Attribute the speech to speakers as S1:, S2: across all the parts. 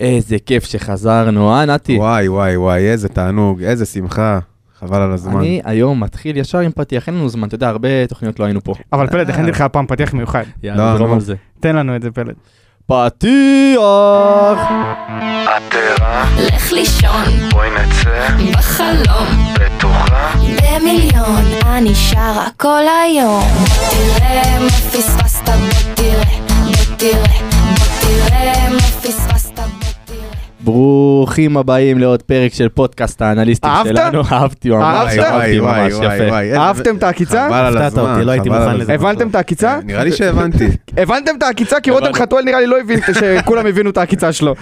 S1: איזה כיף שחזרנו, אה, נתי?
S2: וואי, וואי, וואי, איזה תענוג, איזה שמחה, חבל על הזמן.
S1: אני היום מתחיל ישר עם פתיח, אין לנו זמן, אתה יודע, הרבה תוכניות לא היינו פה.
S3: אבל פלד, הכנתי לך הפעם פתיח מיוחד.
S1: יאללה, נדרום
S2: נו.
S1: על זה.
S3: תן לנו את זה, פלד.
S1: פתיח!
S4: עטרה,
S5: לך לישון
S4: בואי נצא
S5: בחלום
S4: בטוחה,
S5: במיליון אני שרה כל היום תראה מה פספסת בוא תראה בוא תראה בוא תראה מה פספסת בוא תראה
S1: ברוכים הבאים לעוד פרק של פודקאסט האנליסטים
S3: אהבת?
S1: שלנו. אהבתי ממש,
S3: אהבת?
S1: אהבתי ממש, יפה.
S2: איזה-
S3: אהבתם את העקיצה?
S2: חבל על
S6: הפתעת
S2: הזמן,
S6: אותי, לא הייתי
S2: חבל על
S6: מוכן
S2: הזמן. כן,
S6: לזה.
S3: הבנתם את העקיצה?
S2: נראה לי שהבנתי.
S3: הבנתם את העקיצה? כי רותם חתואל נראה לי לא הבין שכולם הבינו את העקיצה שלו.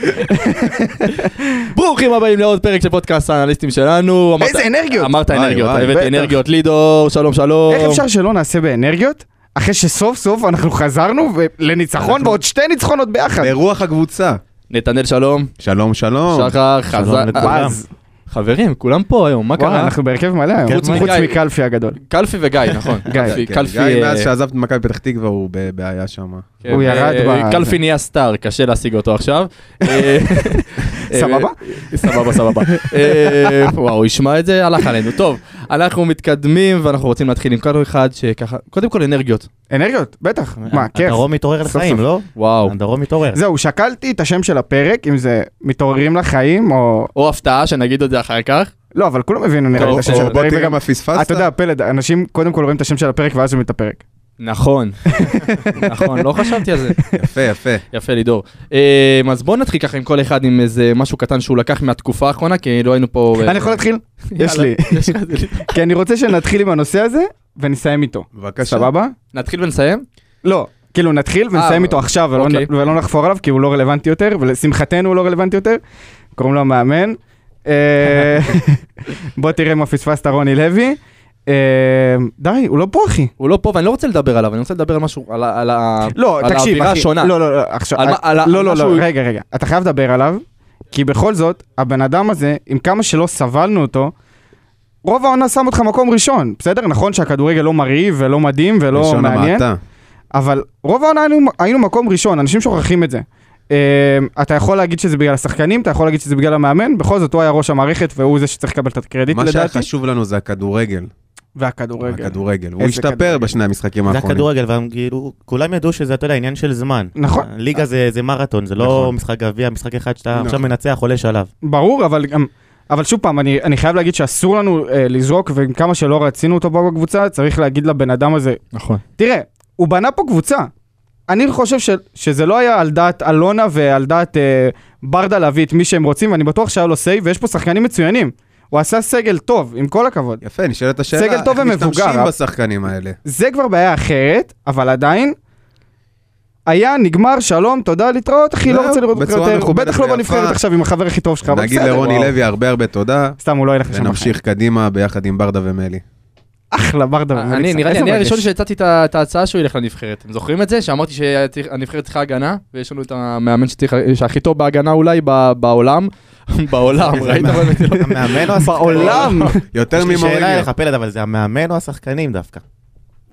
S1: ברוכים הבאים לעוד פרק של פודקאסט האנליסטים שלנו. אמרת-
S3: איזה אנרגיות!
S1: אמרת
S2: וואי,
S1: אנרגיות,
S2: וואי,
S1: הבאתי
S3: בטח.
S1: אנרגיות לידור, שלום שלום.
S3: איך אפשר שלא נעשה באנרגיות? אחרי שסוף סוף אנחנו חזרנו ו- לניצחון ועוד שתי ניצחונות ביחד.
S2: ברוח הקבוצה.
S1: נתנאל שלום,
S2: שלום, שלום. כן,
S1: שחר, חזר...
S6: לכולם.
S1: אה,
S3: אז,
S1: חברים, כולם פה היום, מה
S3: וואי,
S1: קרה?
S3: אנחנו בהרכב מלא היום.
S1: חוץ
S3: חוץ
S1: מגיא.
S3: מקלפי הגדול.
S1: קלפי וגיא, נכון.
S3: גיא,
S1: קלפי,
S2: כן,
S1: קלפי...
S2: גיא,
S1: אה,
S2: מאז שעזב את מכבי פתח תקווה הוא בבעיה שם.
S1: כן,
S3: הוא
S1: אה,
S3: ירד
S1: אה,
S3: ב-
S1: קלפי נהיה סטאר, קשה להשיג אותו עכשיו. אה,
S3: סבבה?
S1: אה, סבבה, סבבה. אה, וואו, הוא ישמע את זה, הלך עלינו. טוב, אנחנו מתקדמים ואנחנו רוצים להתחיל עם כל אחד שככה, קודם כל אנרגיות.
S3: אנרגיות,
S6: אה,
S3: בטח. מה, כיף.
S6: הדרום מתעורר
S3: סוף
S6: לחיים,
S3: סוף.
S6: לא?
S1: וואו.
S6: הדרום מתעורר.
S3: זהו, שקלתי את השם של הפרק, אם זה מתעוררים לחיים או...
S1: או הפתעה, שנגיד את זה אחר כך.
S3: לא, אבל כולם הבינו נראה לי
S1: טוב,
S3: את השם
S1: או-
S3: של
S2: או בוא
S3: הפרק.
S2: תראה
S3: וגם-
S2: מה פספסת.
S3: אתה יודע, פלד, אנשים קודם כל רואים את השם של הפרק ואז הם את הפרק.
S1: נכון. נכון, לא חשבתי על זה.
S2: יפה, יפה.
S1: יפה, לידור. אה, אז בואו נתחיל ככה עם כל אחד עם איזה משהו קטן שהוא לקח מהתקופה האחרונה, כי לא היינו פה... אה,
S3: אני יכול להתחיל? יש לי.
S1: יש לך את זה.
S3: כי אני רוצה שנתחיל עם הנושא הזה ונסיים איתו.
S2: בבקשה.
S3: סבבה?
S1: נתחיל ונסיים?
S3: לא. כאילו נתחיל
S1: אה,
S3: ונסיים איתו עכשיו ולא-
S1: אוקיי.
S3: ולא נחפור עליו כי הוא לא רלוונטי יותר ולשמחתנו הוא לא רלוונטי יותר. קוראים לו המאמן. אה, בוא תראה מה פספסת רוני לוי. אה, די, הוא לא פה אחי.
S1: הוא לא פה ואני לא רוצה לדבר עליו, אני רוצה לדבר על משהו, על ה- על ה...
S3: לא,
S1: על
S3: תקשיב, אחי.
S1: האווירה השונה.
S3: לא, לא, לא, עכשיו...
S1: על מה- על ה-
S3: לא,
S1: על
S3: לא,
S1: מה
S3: לא,
S1: שהוא-
S3: רגע, רגע. אתה חייב לדבר עליו, כי בכל זאת, הבן אדם הזה, עם כמה שלא סבלנו אותו, רוב העונה שם אותך מקום ראשון, בסדר? נכון שהכדורגל לא מרהיב ולא מדהים ולא
S2: לשון
S3: לא מעניין,
S2: המעטה.
S3: אבל רוב העונה היינו, היינו מקום ראשון, אנשים שוכחים את זה. אה, אתה יכול להגיד שזה בגלל השחקנים, אתה יכול להגיד שזה בגלל המאמן, בכל זאת הוא היה ראש המערכת והוא זה שצריך לקבל את הקרדיט
S2: מה שהיה
S3: לדעתי.
S2: חשוב לנו זה הכדורגל.
S3: והכדורגל.
S2: הכדורגל. הוא
S3: איזה
S2: השתפר
S3: כדורגל.
S2: בשני המשחקים
S6: זה
S2: האחרונים.
S6: הכדורגל, והם כאילו, כולם ידעו שזה, אתה יודע, עניין של זמן.
S3: נכון.
S6: ליגה זה זה מרתון, זה לא
S2: נכון.
S6: משחק גביע, משחק אחד שאתה
S2: נכון.
S6: עכשיו מנצח, עולה שלב.
S3: ברור, אבל גם... אבל שוב פעם, אני, אני חייב להגיד שאסור לנו אה, לזרוק, וכמה שלא רצינו אותו פה בקבוצה, צריך להגיד לבן אדם הזה,
S1: נכון.
S3: תראה, הוא בנה פה קבוצה. אני חושב ש, שזה לא היה על דעת אלונה ועל דעת אה, ברדה להביא את מי שהם רוצים, ואני בטוח שהיה לו סיי, ויש פה שחקנים מצוינים. הוא עשה סגל טוב, עם כל הכבוד.
S2: יפה, נשאלת השאלה,
S3: סגל טוב
S2: איך
S3: ומבוגר, אה?
S2: משתמשים
S3: אבל-
S2: בשחקנים האלה?
S3: זה כבר בעיה אחרת, אבל עדיין... היה, נגמר, שלום, תודה, להתראות, אחי,
S2: זהו,
S3: לא רוצה לראות אותך
S2: בצורה
S3: יותר.
S2: מכובדת
S3: בטח לא
S2: ויפה.
S3: בנבחרת עכשיו עם החבר הכי טוב שלך, אבל
S2: נגיד
S3: בסדר.
S2: לרוני
S3: וואו.
S2: לוי הרבה הרבה תודה,
S3: סתם, הוא לא ילך לשם.
S2: ונמשיך קדימה ביחד עם ברדה ומלי.
S3: אחלה, ברדה.
S1: אה, אני,
S3: ומליצה.
S1: נראה לי,
S3: איזה
S1: אני
S3: מרגש.
S1: הראשון שהצעתי את ה- את ההצעה שהוא ילך לנבחרת. אתם זוכרים את זה? שאמרתי שהנבחרת צריכה הגנה, ויש לנו את המאמן שצריך- שהכי טוב בהגנה אולי ב- בעולם. בעולם, ראית? אבל זה לא-
S6: המאמן או השחקנים?
S3: בעולם.
S2: יותר
S6: יש לי שאלה
S2: ממוריניו.
S6: אליך, פלד, אבל זה המאמן או השחקנים דווקא?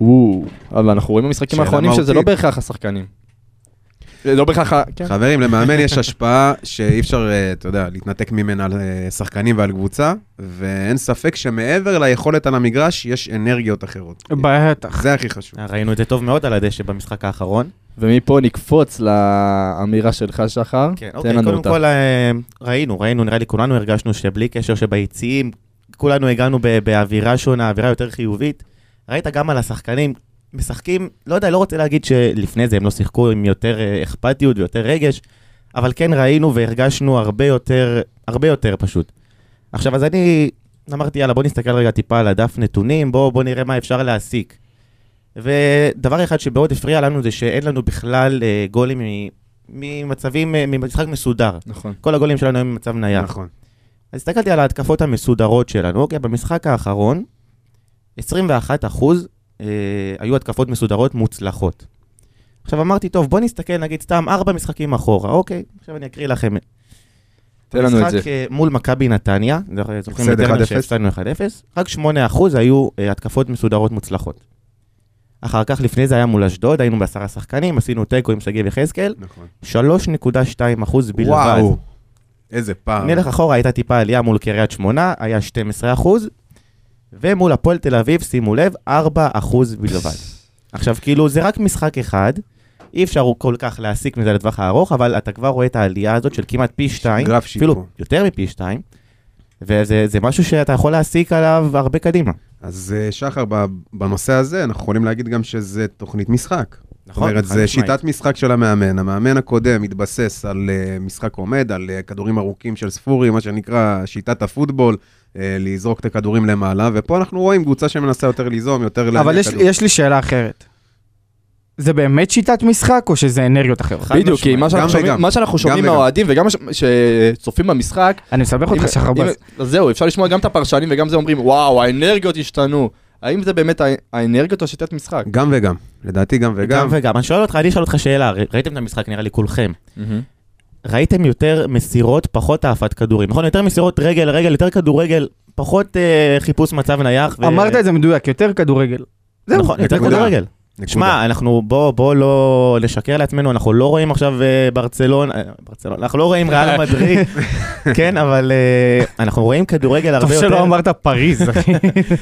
S1: וואו, אבל אנחנו רואים במשחקים
S2: שאלה
S1: האחרונים שזה לא
S2: מהותית.
S1: בהכרח השחקנים. זה לא בהכרח... ה- כן.
S2: חברים, למאמן יש השפעה שאי אפשר, אה, אתה יודע, להתנתק ממנה על אה, שחקנים ועל קבוצה, ואין ספק שמעבר ליכולת על המגרש, יש אנרגיות אחרות.
S6: אמ,
S3: בטח.
S2: זה הכי חשוב.
S6: ראינו את זה טוב מאוד על הדשא במשחק האחרון.
S1: ומפה נקפוץ לאמירה שלך, שחר.
S6: כן,
S1: נכון? תן
S6: אוקיי,
S1: לנו
S6: קודם
S1: אותה.
S6: כל אה, ראינו, ראינו, נראה לי כולנו הרגשנו שבלי קשר שביציעים, כולנו הגענו ב- באווירה שונה, אווירה יותר חיובית. ראית גם על השחקנים, משחקים, לא יודע, לא רוצה להגיד שלפני זה הם לא שיחקו עם יותר אה, אכפתיות ויותר רגש, אבל כן ראינו והרגשנו הרבה יותר, הרבה יותר פשוט. עכשיו, אז אני אמרתי, יאללה, בוא נסתכל רגע טיפה על הדף נתונים, בוא, בוא נראה מה אפשר להסיק. ודבר אחד שמאוד הפריע לנו זה שאין לנו בכלל אה, גולים מ- ממצבים, אה, ממשחק מסודר.
S1: נכון.
S6: כל הגולים שלנו הם ממצב נייח.
S2: נכון.
S6: אז הסתכלתי על ההתקפות המסודרות שלנו, אוקיי, במשחק האחרון, 21 אחוז אה, היו התקפות מסודרות מוצלחות. עכשיו אמרתי, טוב, בוא נסתכל נגיד סתם ארבע משחקים אחורה, אוקיי, עכשיו אני אקריא לכם.
S1: תן לנו את
S6: משחק אה, מול מכבי נתניה, זוכ- זוכרים
S2: הפסד
S6: בטרנר
S2: 1-0.
S6: שהפסדנו 1-0, רק 8% היו אה, התקפות מסודרות מוצלחות. אחר כך, לפני זה היה מול אשדוד, היינו בעשרה שחקנים, עשינו תיקו עם שגיב יחזקאל,
S2: נכון.
S6: 3.2% בלבד.
S2: וואו, איזה פער.
S6: נלך אחורה, הייתה טיפה עלייה מול קריית שמונה, היה 12 אחוז, ומול הפועל תל אביב, שימו לב, 4 אחוז בלבד. עכשיו, כאילו, זה רק משחק אחד, אי אפשר כל כך להסיק מזה לטווח הארוך, אבל אתה כבר רואה את העלייה הזאת של כמעט פי שתיים,
S2: גרף
S6: אפילו
S2: שיפור.
S6: יותר מפי שתיים, וזה זה משהו שאתה יכול להסיק עליו הרבה קדימה.
S2: אז אה, שחר, ב- בנושא הזה אנחנו יכולים להגיד גם שזה תוכנית משחק. זאת
S3: נכון,
S2: אומרת,
S6: חד
S2: זה
S6: משמעית.
S2: שיטת משחק של המאמן. המאמן הקודם התבסס על אה, משחק עומד, על אה, כדורים ארוכים של ספורי, מה שנקרא שיטת הפוטבול, אה, לזרוק את הכדורים למעלה, ופה אנחנו רואים קבוצה שמנסה יותר ליזום, יותר להניע
S3: אבל יש-
S2: כדור.
S3: יש לי שאלה אחרת. זה באמת שיטת משחק או שזה אנרגיות אחרות?
S6: חד
S1: בדיוק, כי
S6: משמעית.
S1: מה שאנחנו
S2: גם
S1: שומעים-
S2: וגם.
S1: מה שאנחנו שומעים
S2: גם וגם.
S1: מהאוהדים וגם הש- שצופים במשחק,
S3: אני מסבך אותך
S1: אם-
S3: שחר
S1: אם-
S3: בס.
S1: אז זהו, אפשר לשמוע גם את הפרשנים וגם זה אומרים, וואו, האנרגיות השתנו. האם זה באמת הא- האנרגיות או שיטת משחק?
S2: גם וגם, לדעתי גם
S6: גם
S2: וגם.
S6: וגם. אני שואל אותך, אני אשאל אותך שאלה, ר- ראיתם את המשחק נראה לי כולכם. ראיתם יותר מסירות, פחות העפת כדורים, נכון? יותר מסירות רגל, רגל, יותר כדורגל, פחות אה, חיפוש מצב נייח. ו-
S3: אמרת את זה מדויק, יותר כדורגל. זהו.
S6: נכון, יותר
S2: נקודה.
S6: כדורגל.
S2: נקודה.
S6: שמע, אנחנו, בוא, בוא לא נשקר לעצמנו, אנחנו לא רואים עכשיו אה, ברצלון, אה, ברצלון, אנחנו לא רואים ריאל מדריד, כן, אבל אה, אנחנו רואים כדורגל
S3: טוב
S6: הרבה
S3: שלא
S6: יותר,
S3: אמרת פריז, אחי.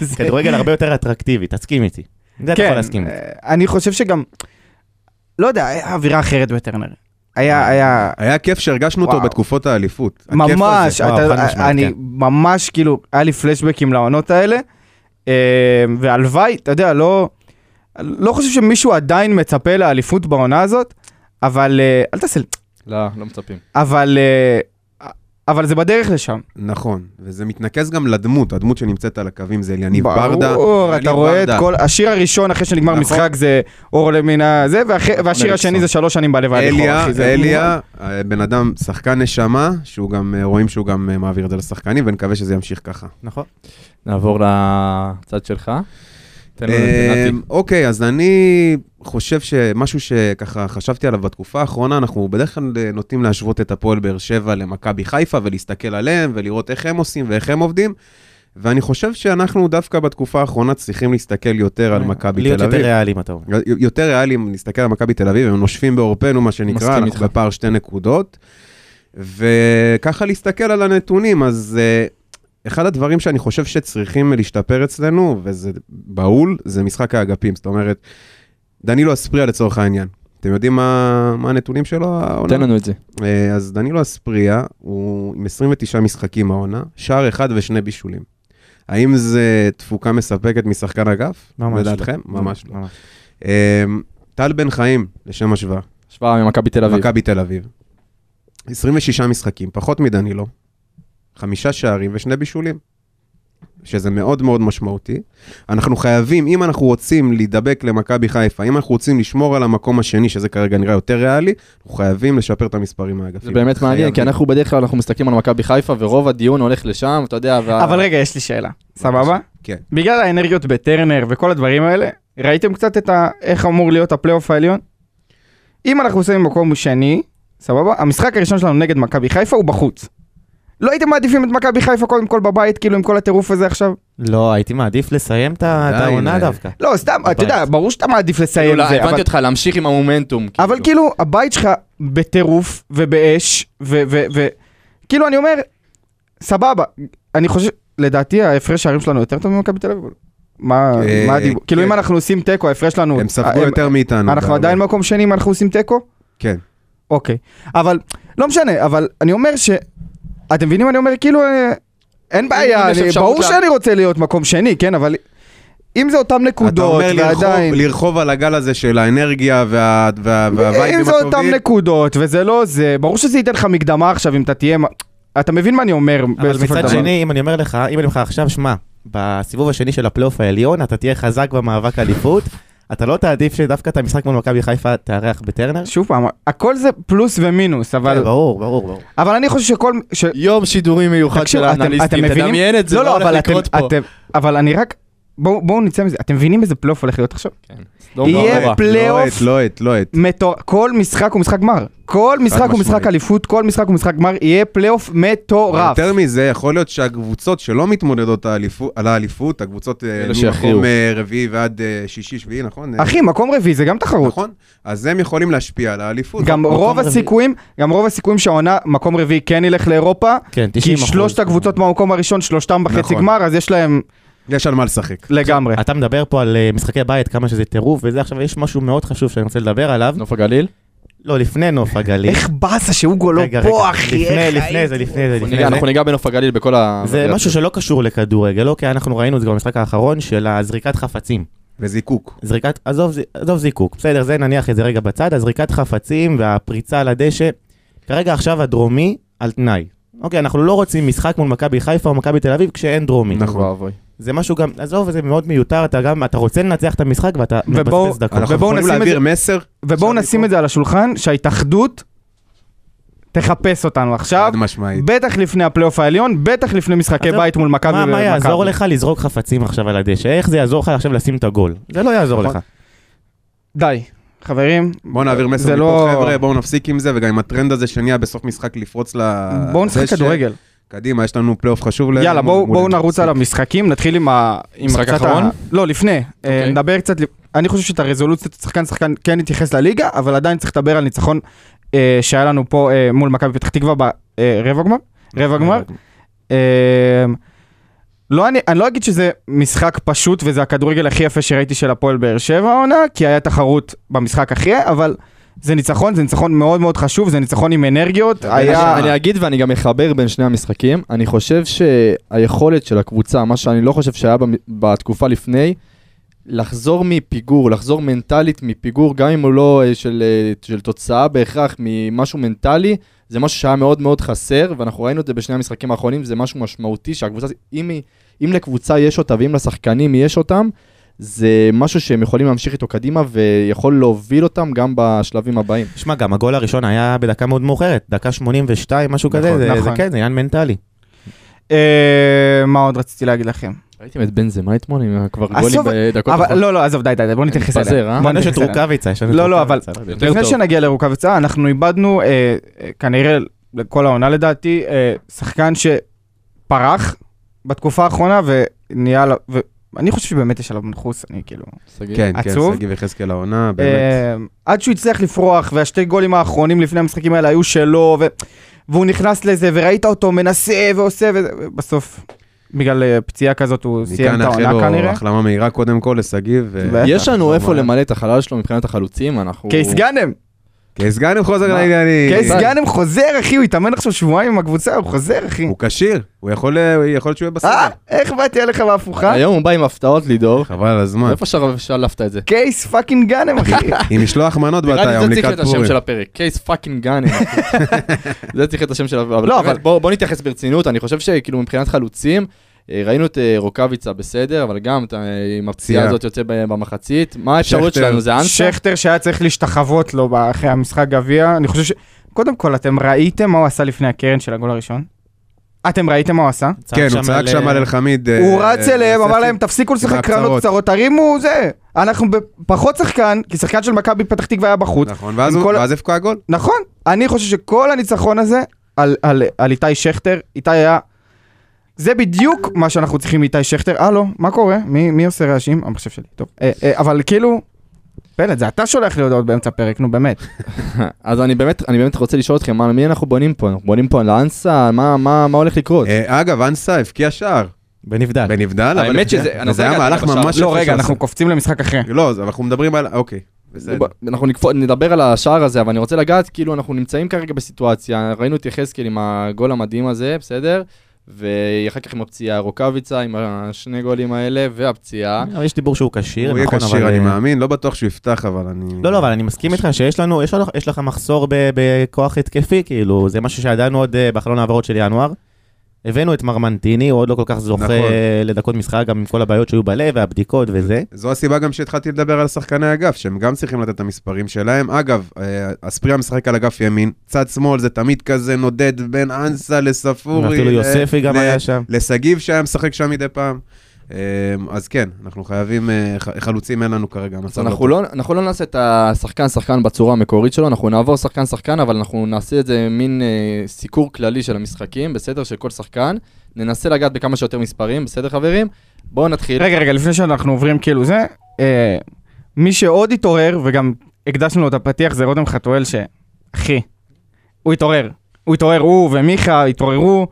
S3: זה-
S6: כדורגל הרבה יותר אטרקטיבי, תסכים איתי. זה אתה
S3: כן,
S6: יכול להסכים. איתי.
S3: אה, אני חושב שגם, לא יודע, היה אווירה אחרת בטרנר.
S6: אה.
S3: היה, היה,
S2: היה כיף שהרגשנו אותו
S3: וואו.
S2: בתקופות האליפות. הכיף הזה.
S3: ממש,
S6: וואו, חד משמעית,
S3: אתה- אה, אני
S6: כן.
S3: ממש כאילו, היה לי פלשבקים לעונות האלה, אה, והלוואי, אתה יודע, לא, לא חושב שמישהו עדיין מצפה לאליפות בעונה הזאת, אבל, אה, אל תעשה, לי,
S1: לא, לא מצפים.
S3: אבל, אה, אבל זה בדרך לשם.
S2: נכון, וזה מתנקז גם לדמות, הדמות שנמצאת על הקווים זה אליניב
S3: ברור,
S2: ברדה.
S3: אתה
S2: אליניב
S3: רואה את
S2: ברדה.
S3: כל, השיר הראשון אחרי שנגמר
S2: נכון.
S3: משחק זה אור למינה זה, ואחרי- והשיר השני
S1: מליקסון.
S3: זה שלוש שנים בלבד.
S2: אליה, אליה, אה, בן אדם, שחקן נשמה, שהוא גם, אה, רואים שהוא גם אה, מעביר את זה לשחקנים, ונקווה שזה ימשיך ככה.
S6: נכון.
S1: נעבור לצד שלך. תן לנו את
S2: אה,
S1: נתי.
S2: אוקיי, אז אני חושב שמשהו שככה חשבתי עליו בתקופה האחרונה, אנחנו בדרך כלל אה, נוטים להשוות את הפועל באר שבע למכבי חיפה ולהסתכל עליהם ולראות איך הם עושים ואיך הם עובדים, ואני חושב שאנחנו דווקא בתקופה האחרונה צריכים להסתכל יותר על מכבי
S6: אה, להיות
S2: תל
S6: יותר
S2: אביב.
S6: ריאליים, אתה אומר.
S2: יותר ריאלי אם נסתכל על מכבי תל אביב, הם נושפים בעורפנו, מה
S1: מסכים
S2: שנקרא, אנחנו
S1: איתך.
S2: בפער שתי נקודות. וככה להסתכל על הנתונים, אז uh, אחד הדברים שאני חושב שצריכים להשתפר אצלנו, וזה בהול, זה משחק האגפים. זאת אומרת, דנילו אספריה לצורך העניין. אתם יודעים מה, מה הנתונים שלו? העונה?
S1: תן לנו את זה.
S2: אה, אז דנילו אספריה הוא עם 29 משחקים העונה, שער אחד ושני בישולים. האם זה תפוקה מספקת משחקן אגף?
S6: ממש לא.
S2: לדעתכם? ממש לא. אמ, טל בן חיים, לשם השוואה,
S1: השוואה ממכבי תל אביב.
S2: מכבי תל אביב. 26 משחקים, פחות מדנילו, חמישה שערים ושני בישולים, שזה מאוד מאוד משמעותי. אנחנו חייבים, אם אנחנו רוצים להידבק למכבי חיפה, אם אנחנו רוצים לשמור על המקום השני, שזה כרגע נראה יותר ריאלי, אנחנו חייבים לשפר את המספרים האגפיים.
S1: זה באמת מעניין,
S2: חייבים.
S1: כי אנחנו בדרך כלל אנחנו מסתכלים על מכבי חיפה, ורוב הדיון הולך לשם, אתה יודע, וה-
S3: אבל רגע, יש לי שאלה, סבבה?
S2: כן.
S3: בגלל האנרגיות בטרנר וכל הדברים האלה, ראיתם קצת את ה... איך אמור להיות הפלייאוף העליון? אם אנחנו שמים מקום שני, סבבה? המשחק הראשון שלנו נגד מכבי חיפה הוא בחוץ. לא הייתם מעדיפים את מכבי חיפה קודם כל בבית, כאילו עם כל הטירוף הזה עכשיו?
S6: לא, הייתי מעדיף לסיים את ה- את
S2: די,
S6: העונה
S2: די.
S6: דווקא.
S3: לא, סתם, אתה יודע,
S6: בבית.
S3: ברור שאתה מעדיף לסיים
S1: כאילו,
S3: את זה,
S1: הבנתי
S3: אבל-
S1: אותך, להמשיך עם המומנטום.
S3: אבל כאילו, הבית שלך בטירוף ובאש, ו... ו- ו- כאילו, אני אומר, סבבה, אני חושב, לדעתי ההפרש שערים שלנו יותר טוב ממכבי תל אביב. מה
S2: אה,
S3: מה הדיבור?
S2: כן.
S3: כאילו, אם אנחנו עושים תיקו, ההפרש שלנו...
S2: הם ספגו
S3: אה,
S2: יותר מאיתנו.
S3: אנחנו
S2: בהרבה.
S3: עדיין לא- מקום שני אם אנחנו עושים תיקו?
S2: כן.
S3: אוקיי. אבל, לא משנה, אבל אני אומר ש... אתם מבינים? אני אומר, כאילו, אה, אין בעיה,
S1: יש
S3: אני-
S1: אפשרות
S3: ברור
S1: לה-
S3: שאני רוצה להיות מקום שני, כן, אבל אם זה אותם
S2: אתה
S3: נקודות,
S2: אומר
S3: ועדיין...
S2: לרכוב- לרכוב על הגל הזה של האנרגיה וה- וה- והווייבים
S3: אם זה אותם
S2: הטובים.
S3: נקודות, וזה לא זה, ברור שזה ייתן לך מקדמה עכשיו אם אתה תהיה... מ- אתה מבין מה אני אומר
S6: אבל
S3: בסופו של
S6: מצד
S3: דבר.
S6: שני, אם אני אומר לך, אם אני אומר לך עכשיו, שמע, בסיבוב השני של הפלייאוף העליון, אתה תהיה חזק במאבק אליפות, אתה לא תעדיף שדווקא את המשחק מול מכבי חיפה תארח בטרנר?
S3: שוב פעם, הכל זה פלוס ומינוס,
S6: כן,
S3: אבל,
S6: ברור, ברור, ברור.
S3: אבל אני חושב שכל... ש...
S1: יום שידורים מיוחד של
S3: תקשיב, אתם, אתם
S1: האנליסטים,
S3: מבינים?
S1: תדמיין את זה,
S3: לא,
S1: מה
S3: לא,
S1: הולך
S3: אבל אתם,
S1: לקרות פה.
S3: אתם... אבל אני רק... בואו בואו נצא מזה. אתם מבינים איזה פלייאוף הולך להיות עכשיו?
S1: סדום
S3: יהיה
S1: ועמורה.
S3: פל- פלייאוף.
S2: לא את, לא את.
S3: מטור... כל משחק הוא משחק גמר. כל משחק הוא משחק
S2: משמעית.
S3: אליפות, כל משחק הוא משחק גמר, יהיה פלייאוף מטורף.
S2: יותר מזה, יכול להיות שהקבוצות שלא מתמודדות האליפו- על האליפות, הקבוצות אה,
S1: אלה שיכריעו.
S2: ממקום אה, רביעי ועד אה, שישי, שביעי, נכון? אה,
S3: אחי, מקום רביעי זה גם תחרות.
S2: נכון? אז הם יכולים להשפיע על האליפות.
S3: גם
S6: מקום
S3: רוב
S6: רביעי.
S3: הסיכויים, גם רוב הסיכויים שהעונה, מקום רביעי כן ילך לאירופה,
S6: כן, 90%.
S3: כי שלושת הקבוצות במקום הראשון, שלושתם בחצי
S2: נכון.
S3: גמר, אז יש להם
S2: יש על מה לשחק.
S3: לגמרי.
S6: אתה מדבר פה על אה, משחקי בית, כמה שזה טירוף וזה, עכשיו יש משהו מאוד חשוב שאני רוצה לדבר עליו.
S1: נוף הגליל?
S6: לא, לפני נוף הגליל.
S3: איך באסה שהוגו לא
S6: רגע, רגע,
S3: פה, אחי,
S6: לפני,
S3: איך
S6: לפני זה, לפני זה, לפני
S1: ניגע-
S6: זה.
S1: אנחנו ניגע בנוף הגליל בכל ה...
S6: זה משהו שלא קשור לכדורגל, לא? כי אנחנו ראינו את זה במשחק האחרון של הזריקת חפצים.
S2: וזיקוק.
S6: זריקת, עזוב, ז- עזוב זיקוק, בסדר, זה נניח את זה רגע בצד, הזריקת חפצים והפריצה על הדשא, כרגע עכשיו הדרומי על תנאי. אוקיי, אנחנו לא רוצים משחק מול מכבי חיפה או מכבי תל אביב כשאין דרומי.
S2: נכון.
S1: נכון. ואבוי.
S6: זה משהו גם, עזוב, זה מאוד מיותר, אתה גם, אתה רוצה לנצח את המשחק ואתה
S3: ובואו-
S6: מבזבז דקות.
S2: אנחנו
S3: ובואו
S2: יכולים
S3: נשים את
S2: להעביר מסר
S3: ובואו נשים את זה על השולחן, שההתאחדות תחפש אותנו עכשיו,
S2: חד משמעית.
S3: בטח לפני הפלייאוף העליון, בטח לפני משחקי
S6: עזוב,
S3: בית מול מכבי
S6: מה, מה יעזור
S3: ומכבי.
S6: לך לזרוק חפצים עכשיו על הדשא? איך זה יעזור לך עכשיו לשים את הגול? זה לא יעזור לך.
S2: נכון.
S3: די, חברים,
S2: בואו נעביר
S3: זה
S2: מסר
S3: לא-
S2: מפה, חבר'ה, בואו נפסיק עם זה, וגם עם הטרנד הזה שנהיה בסוף משחק לפרוץ ל...
S3: בואו נשחק
S2: זה ש-
S3: כדורגל.
S2: קדימה, יש לנו פלייאוף חשוב. ל-
S3: יאללה,
S2: מול-
S3: בואו
S2: מול-
S3: בואו נרוץ על המשחקים, נתחיל עם ה... עם
S1: משחק
S3: קצת
S1: אחרון?
S3: ה- לא, לפני. אה,
S1: אוקיי.
S3: נדבר קצת... לפ- אני חושב שאת הרזולוציות, שחקן שחקן כן התייחס לליגה, אבל עדיין צריך לדבר על ניצחון אה, שהיה לנו פה אה, מול מכבי פתח תקווה ברבע גמר. רבע גמר. אה, לא, אני, אני לא אגיד שזה משחק פשוט וזה הכדורגל הכי יפה שראיתי של הפועל באר שבע העונה, כי היה תחרות במשחק אחרי, אבל זה ניצחון, זה ניצחון מאוד מאוד חשוב, זה ניצחון עם אנרגיות, היה...
S1: אני אגיד ואני גם אחבר בין שני המשחקים, אני חושב שהיכולת של הקבוצה, מה שאני לא חושב שהיה במ- בתקופה לפני, לחזור מפיגור, לחזור מנטלית מפיגור, גם אם הוא לא אה, של, אה, של תוצאה בהכרח, ממשהו מנטלי, זה משהו שהיה מאוד מאוד חסר, ואנחנו ראינו את זה בשני המשחקים האחרונים, זה משהו משמעותי שהקבוצה, אם, היא- אם לקבוצה יש אותה ואם לשחקנים יש אותם, זה משהו שהם יכולים להמשיך איתו קדימה ויכול להוביל אותם גם בשלבים הבאים.
S6: שמע, גם הגול הראשון היה בדקה מאוד מאוחרת, דקה 82, משהו
S2: נכון,
S6: כזה, זה- זה
S3: נכון.
S6: כן, זה עניין מנטלי.
S3: אה, מה עוד רציתי להגיד לכם?
S1: ראיתם את בנזמה אתמול עם כבר גולים
S3: עזוב,
S1: בדקות
S3: אבל לא, לא, עזוב, די, די, די, בוא נתייחס
S1: מתפזר, אה?
S3: אליה. בוא
S6: יש
S3: נתייחס
S6: את
S3: אליה.
S6: רוקאביצה, יש לנו את
S3: נכון. לא, לא, אבל-
S6: רוקאביצה, לא יודע.
S1: יותר
S3: לפני
S1: טוב.
S3: שנגיע לרוקאביצה, אנחנו איבדנו, אה, אה, כנראה לכל העונה לדעתי, אה, שחקן שפרח בתקופה האחרונה ונהיה עליו, ואני חושב שבאמת יש עליו מנחוס, אני כאילו...
S1: לא-
S2: כן, כן,
S3: עצוב.
S2: שגיב יחזקאל העונה, באמת.
S3: אה, עד שהוא הצליח לפרוח, והשתי גולים האחרונים לפני המשחקים האלה היו שלו, ו... והוא נכנס לזה, וראית אותו מנסה ועושה, וזה, ובסוף, בגלל אה, פציעה כזאת, הוא סיים
S2: מכאן
S3: את
S2: נאחל
S3: העונה
S2: לו
S3: כנראה.
S2: החלמה מהירה קודם כל לשגיב. ו-
S3: בטח.
S1: יש לנו
S2: לא
S1: איפה
S2: בעיה.
S1: למלא את החלל שלו מבחינת החלוצים, אנחנו...
S3: קייס גאנם,
S2: קייס גאנם חוזר
S1: מה?
S2: לעניינים.
S3: קייס
S1: אה,
S3: גאנם כן, חוזר, אחי, הוא התאמן עכשיו שבועיים עם הקבוצה, הוא חוזר, אחי.
S2: הוא כשיר, הוא יכול אה, הוא יכול להיות שהוא יהיה
S3: אה,
S2: בסדר.
S3: איך באתי עליך בהפוכה?
S1: היום הוא בא עם הפתעות לידור.
S2: חבל על הזמן.
S1: איפה שר- שלפת את זה?
S3: קייס פאקינג גאנם, אחי.
S2: עם משלוח מנות
S1: נראה
S2: ואתה
S1: לי
S2: היום
S1: זה צריך
S2: לקראת
S1: להיות השם
S2: פורים.
S1: של הפרק, קייס פאקינג גאנם. זה צריך להיות השם של הפרק.
S3: לא,
S1: לא, אבל
S3: אבל-
S1: בואו בואו נתייחס ברצינות, אני חושב שכאילו מבחינת חלוצים, אה, ראינו את אה, רוקאביצה בסדר, אבל גם אתה, אה, עם הפציעה
S2: פציעה.
S1: הזאת יוצא ב- במחצית. מה האפשרויות
S2: שכטר.
S1: שלנו? זה אנסה?
S3: שכטר שהיה צריך להשתחוות לו ב- אחרי המשחק גביע, אני חושב ש... קודם כל, אתם ראיתם מה הוא עשה לפני הקרן של הגול הראשון? אתם ראיתם מה הוא עשה?
S2: כן,
S6: צעק
S2: הוא צעק
S6: על-
S2: שם על אלחמיד. אה,
S3: הוא רץ
S2: אה,
S3: אליהם, אמר
S2: יוספי.
S3: להם, תפסיקו לשחק קרנות
S2: בהצהרות."
S3: קצרות, תרימו זה. אנחנו פחות שחקן, כי שחקן של מכבי פתח תקווה היה בחוץ.
S2: נכון, ואז
S3: עם
S2: הוא-
S3: כל-
S2: ואז הבקע גול.
S3: נכון, אני חושב שכל הניצחון הזה על- על על איתי שכטר, איתי היה... זה בדיוק מה שאנחנו צריכים מאיתי שכטר. הלו, מה קורה? מי מי עושה רעשים? המחשב שלי, טוב. אה, אה, אבל כאילו... פלט, זה אתה שולח לי הודעות באמצע הפרק, נו באמת.
S1: אז אני באמת אני באמת רוצה לשאול אתכם, מה- מי אנחנו בונים פה? אנחנו בונים פה על האנסה? מה- מה מה הולך לקרות?
S2: אה, אגב, אנסה הבקיע שער.
S6: אה, בנבדל.
S2: בנבדל, אבל...
S1: האמת
S2: הבקיע.
S1: שזה- אני
S2: זה
S1: רוצה
S2: היה
S1: לגעת
S2: מהלך
S1: בשער.
S2: ממש...
S3: לא,
S2: יפה
S3: רגע,
S2: שהוא
S3: אנחנו
S2: עשה.
S3: קופצים למשחק אחרי.
S2: לא, אז אנחנו מדברים על... אוקיי, בסדר.
S1: אנחנו נקפו- נדבר על השער הזה, אבל אני רוצה לגעת, כאילו, אנחנו נמצאים כרגע בסיטואציה, ראינו את יחזקאל עם הגול המדהים הזה, בסדר? ואחר כך עם הפציעה, רוקאביצה עם השני גולים האלה, והפציעה.
S6: אבל יש דיבור שהוא כשיר,
S2: הוא יהיה
S6: נכון, אבל...
S2: כשיר, אני
S6: אה,
S2: מאמין, לא בטוח שהוא יפתח, אבל אני...
S6: לא, לא, אבל אני מסכים איתך שיש לנו, יש לך- יש לך מחסור ב- בכוח התקפי, כאילו, זה משהו שידענו עוד אה, בחלון העברות של ינואר. הבאנו את מרמנטיני, הוא עוד לא כל כך זוכה
S2: נכון.
S6: אה, לדקות משחק, גם עם כל הבעיות שהיו בלב והבדיקות וזה.
S2: זו הסיבה גם שהתחלתי לדבר על שחקני האגף, שהם גם צריכים לתת את המספרים שלהם. אגב, אה, אספריה משחק על אגף ימין, צד שמאל זה תמיד כזה נודד בין אנסה לספורי.
S6: אפילו
S2: ל-
S6: יוספי גם
S2: ל-
S6: היה שם.
S2: לשגיב שהיה משחק שם מדי פעם. אמ, אז כן, אנחנו חייבים, אה, ח- חלוצים אין לנו כרגע,
S1: אז
S2: המצב
S1: אנחנו לא, אנחנו לא נעשה את השחקן-שחקן בצורה המקורית שלו, אנחנו נעבור שחקן-שחקן, אבל אנחנו נעשה את זה מין אה, סיקור כללי של המשחקים, בסדר? של כל שחקן. ננסה לגעת בכמה שיותר מספרים, בסדר חברים? בואו נתחיל.
S3: רגע, רגע, לפני שאנחנו עוברים כאילו זה, אה, מי שעוד התעורר, וגם הקדשנו לו את הפתיח, זה רותם חתואל, שאחי, הוא התעורר. הוא התעורר, הוא ומיכה התעוררו,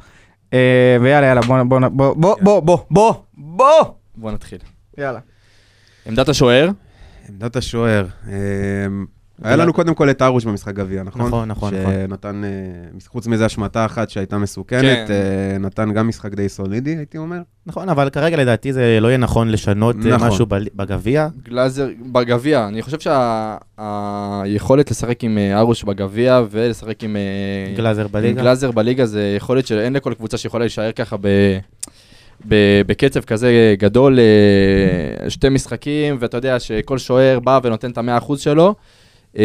S3: אה, ויאללה, יאללה, בוא, בוא, בוא, בוא, בוא, בוא, בוא, בוא,
S1: בואו נתחיל.
S3: יאללה.
S1: עמדת השוער,
S2: עמדת השוער. אמ, היה לנו קודם כל את הרוש במשחק גביע, נכון?
S6: נכון, נכון,
S2: שנתן, אה, חוץ מזה השמטה אחת שהייתה מסוכנת,
S1: כן.
S2: אה, נתן גם משחק די סולידי, הייתי אומר.
S6: נכון, אבל כרגע לדעתי זה לא יהיה נכון לשנות אה,
S2: נכון.
S6: משהו בל- בגביע.
S1: גלאזר, בגביע. אני חושב שהיכולת לשחק עם אה, ארוש בגביע ולשחק עם אה,
S6: גלאזר
S1: עם
S6: בליגה.
S1: גלאזר בליגה זה יכולת שאין לכל קבוצה שיכולה להישאר ככה ב... ב- בקצב כזה גדול, אה, שתי משחקים, ואתה יודע שכל שוער בא ונותן את המאה אחוז שלו. אה,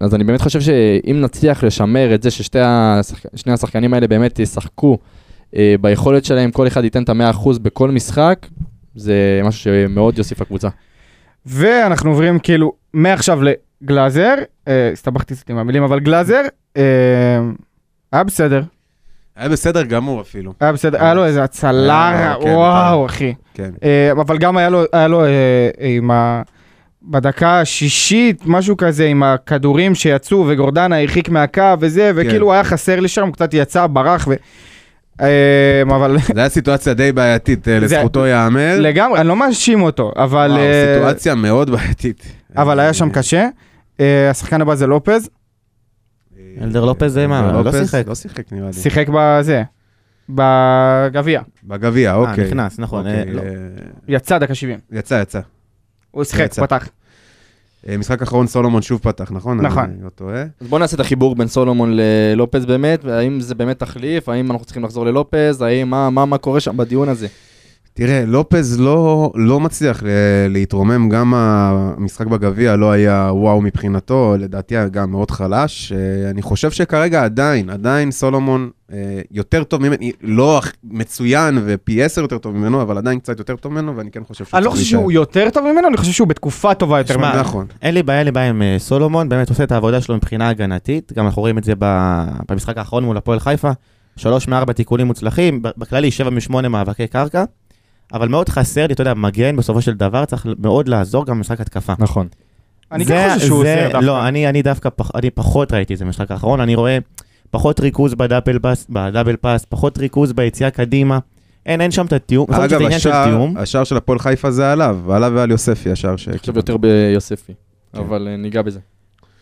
S1: אז אני באמת חושב שאם נצליח לשמר את זה ששני השחק... שני השחקנים האלה באמת ישחקו אה, ביכולת שלהם, כל אחד ייתן את המאה אחוז בכל משחק, זה משהו שמאוד יוסיף לקבוצה.
S3: ואנחנו עוברים כאילו מעכשיו לגלאזר, אה, הסתבכתי קצת עם המילים, אבל גלאזר, אה, היה בסדר,
S2: היה בסדר גמור אפילו,
S3: היה בסדר, היה לו איזה הצלה,
S2: אה, כן,
S3: וואו, אחי.
S2: כן.
S3: אה, אבל גם היה לו, היה לו אה, עם ה... בדקה השישית, משהו כזה, עם הכדורים שיצאו, וגורדנה הרחיק מהקו וזה,
S6: כן.
S3: וכאילו הוא היה חסר לי שם, הוא קצת יצא, ברח, ו... אה, אבל
S2: זו הייתה סיטואציה די בעייתית, אה,
S3: זה-
S2: לזכותו ייאמר.
S6: כן.
S3: לגמרי, אני לא מאשים אותו, אבל...
S2: וואו,
S3: אה,
S2: סיטואציה מאוד בעייתית.
S3: אבל היה שם
S2: אה,
S3: קשה. אה, השחקן הבא זה לופז,
S2: אה,
S6: אלדר לופז זה מה?
S2: אלדר
S6: לא
S2: לופז
S6: שיחק.
S2: לא שיחק נראה לי.
S3: שיחק בזה, בגביע,
S2: בגביע, אוקיי.
S6: נכנס, נכון, אה,
S2: אוקיי,
S6: לא.
S2: אה,
S3: יצא דקה 70.
S2: יצא, יצא.
S3: הוא
S6: כן,
S3: שיחק,
S2: יצא.
S3: פתח.
S2: אה, משחק אחרון סולומון שוב פתח, נכון?
S3: נכון.
S2: אני לא טועה.
S1: אז בואו נעשה את החיבור בין סולומון ללופז באמת, האם זה באמת תחליף, האם אנחנו צריכים לחזור ללופז, האם, מה, מה, מה קורה שם בדיון הזה?
S2: תראה, לופז לא, לא מצליח ל- להתרומם, גם המשחק בגביע לא היה וואו מבחינתו, לדעתי היה גם מאוד חלש. אה, אני חושב שכרגע עדיין, עדיין סולומון אה, יותר טוב ממני, לא הכ- מצוין ופי עשר יותר טוב ממנו, אבל עדיין קצת יותר טוב ממנו, ואני כן חושב שהוא
S3: אני לא
S2: צריך
S3: חושב שהוא
S2: להישאר.
S3: יותר טוב ממנו, אני חושב שהוא בתקופה טובה יותר
S6: שמע,
S3: ממנו.
S2: נכון.
S6: אין לי בעיה, אין לי בעיה עם אה, סולומון, באמת עושה את העבודה שלו מבחינה הגנתית, גם אנחנו רואים את זה ב- במשחק האחרון מול הפועל חיפה, שלוש מארבע תיקונים מוצלחים, ב- בכללי שבע משמונה מאבקי קרקע, אבל מאוד חסר לי, אתה יודע, מגן בסופו של דבר צריך מאוד לעזור גם במשחק התקפה.
S1: נכון.
S3: אני
S6: זה-
S3: כן חושב שהוא
S6: זה-
S3: עוזר דווקא.
S6: לא, אני, אני דווקא, פח, אני פחות ראיתי את זה במשחק האחרון, אני רואה פחות ריכוז בדאבל פס, בדאבל פס פחות ריכוז ביציאה קדימה, אין, אין שם את התיאום, יכול להיות
S2: אגב,
S6: שזה עניין של
S2: השער,
S6: תיאום.
S2: השער של הפועל חיפה זה עליו, עליו ועל יוספי השער ש...
S1: אני חושב יותר ביוספי,
S6: כן.
S1: אבל אה, ניגע בזה.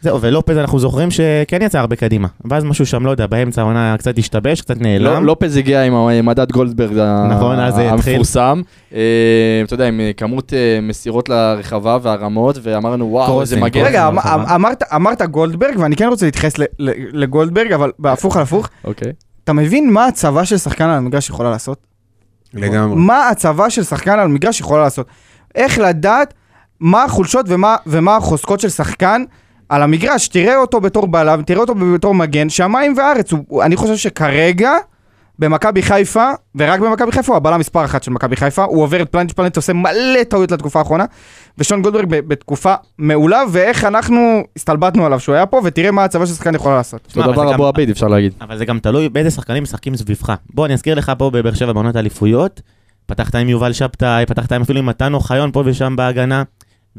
S6: זהו, ולופז אנחנו זוכרים שכן יצא הרבה קדימה. ואז משהו שם, לא יודע, באמצע העונה קצת השתבש, קצת
S1: לא-
S6: נעלם.
S1: לופז הגיע עם ה- מדד גולדברג ה-
S6: נכון, אז זה התחיל.
S1: המפורסם. אה, אתה יודע, עם אה, כמות אה, מסירות לרחבה והרמות, ואמרנו, וואו, איזה
S6: קרוסים,
S1: מגן.
S6: קרוסים.
S3: רגע, אמ-
S6: נכון.
S3: אמ- אמרת- אמרת גולדברג, ואני כן רוצה להתייחס ל- ל- לגולדברג, אבל בהפוך על הפוך,
S1: אוקיי.
S3: אתה מבין מה הצבה של שחקן על המגרש יכולה לעשות?
S2: לגמרי.
S3: מה הצבה של שחקן על המגרש יכולה לעשות? איך לדעת מה החולשות ומה- ומה החוזקות של שחקן על המגרש? תראה אותו בתור בלם, תראה אותו בתור מגן, שמיים וארץ. הוא- הוא- אני חושב שכרגע... במכבי חיפה, ורק במכבי חיפה, הוא הבלם מספר אחת של מכבי חיפה, הוא עובר את פלנץ' פלנץ' עושה מלא טעויות לתקופה האחרונה, ושון גולדברג ב- בתקופה מעולה, ואיך אנחנו הסתלבטנו עליו שהוא היה פה, ותראה מה הצבא של שחקן יכולה לעשות.
S6: תשמע,
S1: אותו
S6: אבל זה
S1: לא דבר
S6: גם-
S1: אבו עביד, אפשר להגיד.
S6: אבל זה גם תלוי באיזה שחקנים משחקים סביבך. בוא, אני אזכיר לך פה בבאר שבע בעונות האליפויות, פתחת עם יובל שבתאי, פתחת עם אפילו עם מתן אוחיון פה ושם בהגנה,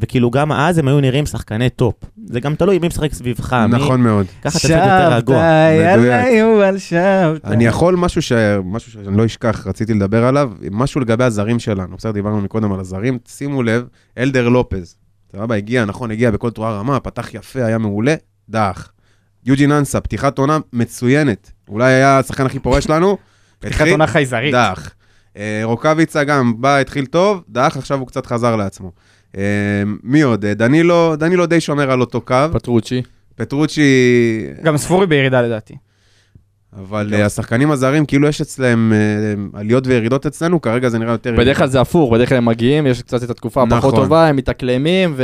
S6: וכאילו גם אז הם היו נראים שחקני טופ. זה גם תלוי מי משחק סביבך. אה, מי-
S2: נכון מאוד.
S6: ככה אתה צריך יותר רגוע.
S2: מדויק. יאללה,
S3: יובל שבתאי.
S2: אני יכול משהו, ש... משהו שאני לא אשכח, רציתי לדבר עליו, משהו לגבי הזרים שלנו. בסדר, דיברנו מקודם על הזרים, שימו לב, אלדר לופז, סבבה, הגיע, נכון, הגיע בכל תרועה רמה, פתח יפה, היה מעולה, דח. יוג'ין אנסה, פתיחת עונה מצוינת. אולי היה השחקן הכי פורה שלנו.
S3: פתיחת
S2: התחיל-
S3: עונה חייזרית.
S2: דח. אה, רוקאביצה גם בא, התחיל טוב, דח, עכשיו הוא קצת חזר לעצמו. אה, מי עוד? אה, דנילו, דנילו די שומר על אותו קו,
S6: אה.
S1: פטרוצ'י.
S2: פטרוצ'י
S3: גם ספורי בירידה לדעתי.
S2: אבל
S1: כן.
S2: אה, השחקנים הזרים, כאילו יש אצלהם אה, עליות וירידות אצלנו, כרגע זה נראה יותר...
S1: בדרך כלל זה הפוך, בדרך כלל הם מגיעים, יש קצת את התקופה הפחות
S2: נכון.
S1: טובה, הם מתאקלמים, ו...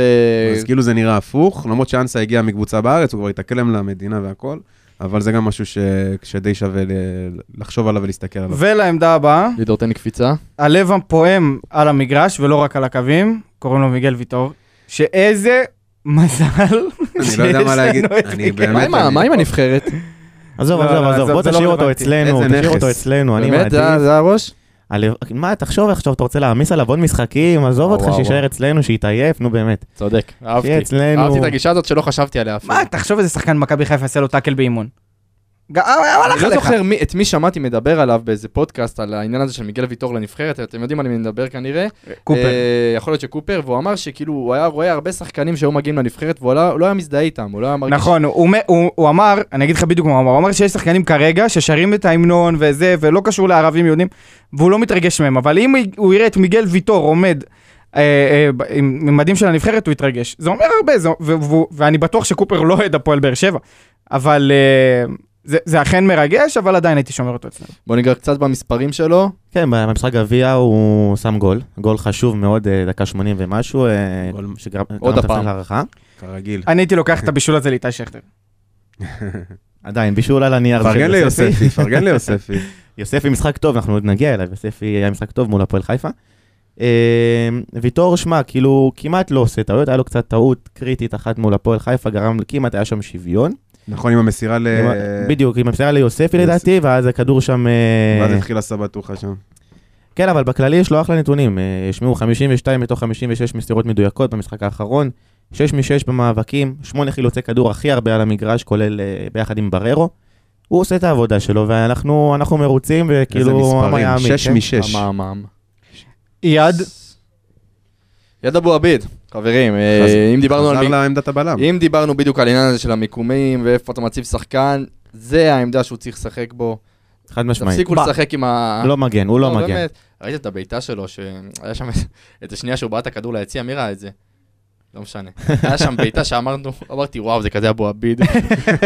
S2: אז כאילו זה נראה הפוך, למרות שאנסה הגיע מקבוצה בארץ, הוא כבר התאקלם למדינה והכל. אבל זה גם משהו ש... שדי שווה ל... לחשוב עליו ולהסתכל עליו.
S3: ולעמדה הבאה,
S1: לידור תן לי קפיצה.
S3: הלב הפועם על המגרש ולא רק על הקווים, קוראים לו מיגל ויטור, שאיזה מזל
S2: אני לא יודע מה להגיד, אני
S3: מיגל.
S1: מה
S2: באמת,
S1: עם ה-
S2: אני-
S1: מה עם הנבחרת?
S6: עזוב,
S3: לא,
S6: עזוב,
S3: לא,
S6: עזוב,
S3: עזוב,
S6: בוא
S3: זה לא
S6: תשאיר אותו
S3: רלוונטי.
S6: אצלנו,
S2: איזה
S6: תשאיר אותו
S2: נכס.
S6: אצלנו, אני
S1: באמת? אה,
S6: מעדיף.
S1: זה- זה הראש?
S6: על- מה, תחשוב עכשיו, אתה רוצה להעמיס עליו עוד משחקים, עזוב
S1: וואו,
S6: אותך,
S1: וואו,
S6: שיישאר
S1: וואו.
S6: אצלנו, שיתעייף, נו באמת.
S1: צודק, אהבתי.
S6: שיהיה אצלנו.
S1: אהבתי את הגישה הזאת שלא חשבתי עליה אפילו.
S3: מה, תחשוב איזה שחקן מכבי חיפה יעשה לו טאקל באימון. ג- אה,
S1: אני
S3: הלך
S1: לא
S3: עליך.
S1: זוכר מי- את מי שמעתי מדבר עליו באיזה פודקאסט על העניין הזה של מיגל ויטור לנבחרת, אתם יודעים על מי נדבר כנראה.
S3: קופר.
S1: אה, יכול להיות שקופר, והוא אמר שכאילו הוא היה רואה הרבה שחקנים שהיו מגיעים לנבחרת והוא לא לא היה מזדהה איתם, הוא לא היה מרגיש...
S3: נכון, הוא- הוא מ- הוא הוא אמר, אני אגיד לך בדיוק מה הוא אמר, הוא אמר שיש שחקנים כרגע ששרים את ההמנון וזה, ולא קשור לערבים יהודים, והוא לא מתרגש מהם, אבל אם הוא יראה את מיגל ויטור עומד אה, אה, ב- עם עם מדים של הנבחרת, הוא יתרגש. זה אומר הרבה, זה- ו- ו- ואני בטוח שקופר לא אוהד הפועל באר שבע, אבל אה, זה- זה אכן מרגש, אבל עדיין הייתי שומר אותו אצלנו.
S1: בוא ניגע קצת במספרים שלו.
S6: כן, במשחק גביע הוא שם גול, גול חשוב מאוד, אה, דקה 80 ומשהו, אה,
S2: גול.
S6: שגרם
S1: עוד
S6: גרם את
S1: הפעם.
S6: הפסל להערכה.
S2: כרגיל.
S3: אני הייתי לוקח את הבישול הזה לאיתי שכטר.
S6: עדיין, בישול על הנייר. של
S2: פרגן ליוספי, פרגן ליוספי.
S6: יוספי משחק טוב, אנחנו עוד נגיע אליו, יוספי היה משחק טוב מול הפועל חיפה. אה, ויטור, שמע, כאילו, כמעט לא עושה טעויות, היה לו קצת טעות קריטית אחת מול הפועל חיפה, גרם, כמעט היה שם שוויון.
S2: נכון, עם המסירה ל...
S6: עם- בדיוק, עם המסירה ליוספי
S2: יוס-
S6: לדעתי, ואז הכדור שם... אה,
S2: ואז התחילה סבתוכה שם.
S6: כן, אבל בכללי יש לו אחלה נתונים. אה, השמיעו 52 מתוך 56 מסירות מדויקות במשחק האחרון, 6 מ-6 במאבקים, 8 חילוצי כדור הכי הרבה על המגרש, כולל אה, ביחד עם בררו. הוא עושה את העבודה שלו, ואנחנו אנחנו מרוצים,
S2: איזה
S1: כאילו,
S6: וכאילו,
S2: מספרים, שש
S6: כן?
S2: משש.
S1: המעמם.
S3: אייד,
S1: יד אבו עביד, חברים, אה, אם דיברנו על...
S2: חזר
S1: מי-
S2: לעמדת הבלם.
S1: אם דיברנו בדיוק על העניין הזה של המיקומים ואיפה אתה מציב שחקן, זה העמדה שהוא צריך לשחק בו.
S6: חד משמעית.
S1: תפסיקו לשחק עם ה...
S6: לא מגן, הוא לא מגן.
S1: באמת. ראית את הבעיטה שלו, שהיה שם את השנייה שהוא בעט את הכדור ליציע, מי ראה את זה? לא משנה. היה שם בעיטה שאמרנו, אמרתי, וואו, זה כזה אבו עביד.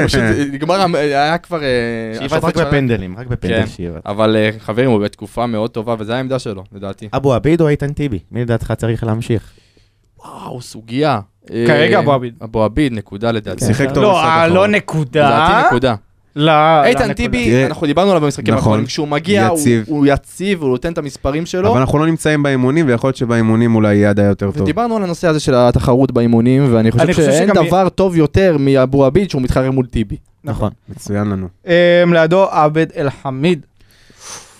S1: פשוט נגמר, המ- היה כבר... אה,
S6: שאיבת
S1: השופט
S6: רק
S1: שנה.
S6: בפנדלים, רק בפנדל
S1: כן.
S6: שאיבת.
S1: אבל אה, חברים, הוא בתקופה מאוד טובה, וזו העמדה שלו, לדעתי.
S6: אבו עביד או איתן טיבי? מי לדעתך צריך להמשיך?
S1: וואו, סוגיה. כן. אה,
S3: כרגע אבו עביד.
S1: אבו עביד, נקודה לדעתי.
S2: שיחק טוב.
S3: לא,
S2: בסדר,
S3: אה,
S2: נכון.
S3: לא נקודה.
S1: לדעתי נקודה.
S3: לא, לא
S1: איתן
S3: נקודה.
S1: טיבי,
S2: תראה,
S1: אנחנו דיברנו עליו במשחקים
S2: נכון.
S1: האחרונים, כשהוא מגיע, הוא-
S2: יציב.
S1: הוא יציב, הוא נותן את המספרים שלו,
S2: אבל אנחנו לא נמצאים באימונים, ויכול להיות שבאימונים אולי יהיה עדיין יותר טוב.
S1: ודיברנו על הנושא הזה של התחרות באימונים, ואני חושב
S3: אני חושב
S1: שאין
S3: שגם-
S1: דבר טוב יותר מאבו עביד שהוא מתחרה מול טיבי.
S6: נכון.
S2: מצוין לנו.
S3: אה, לידו עבד אל-חמיד.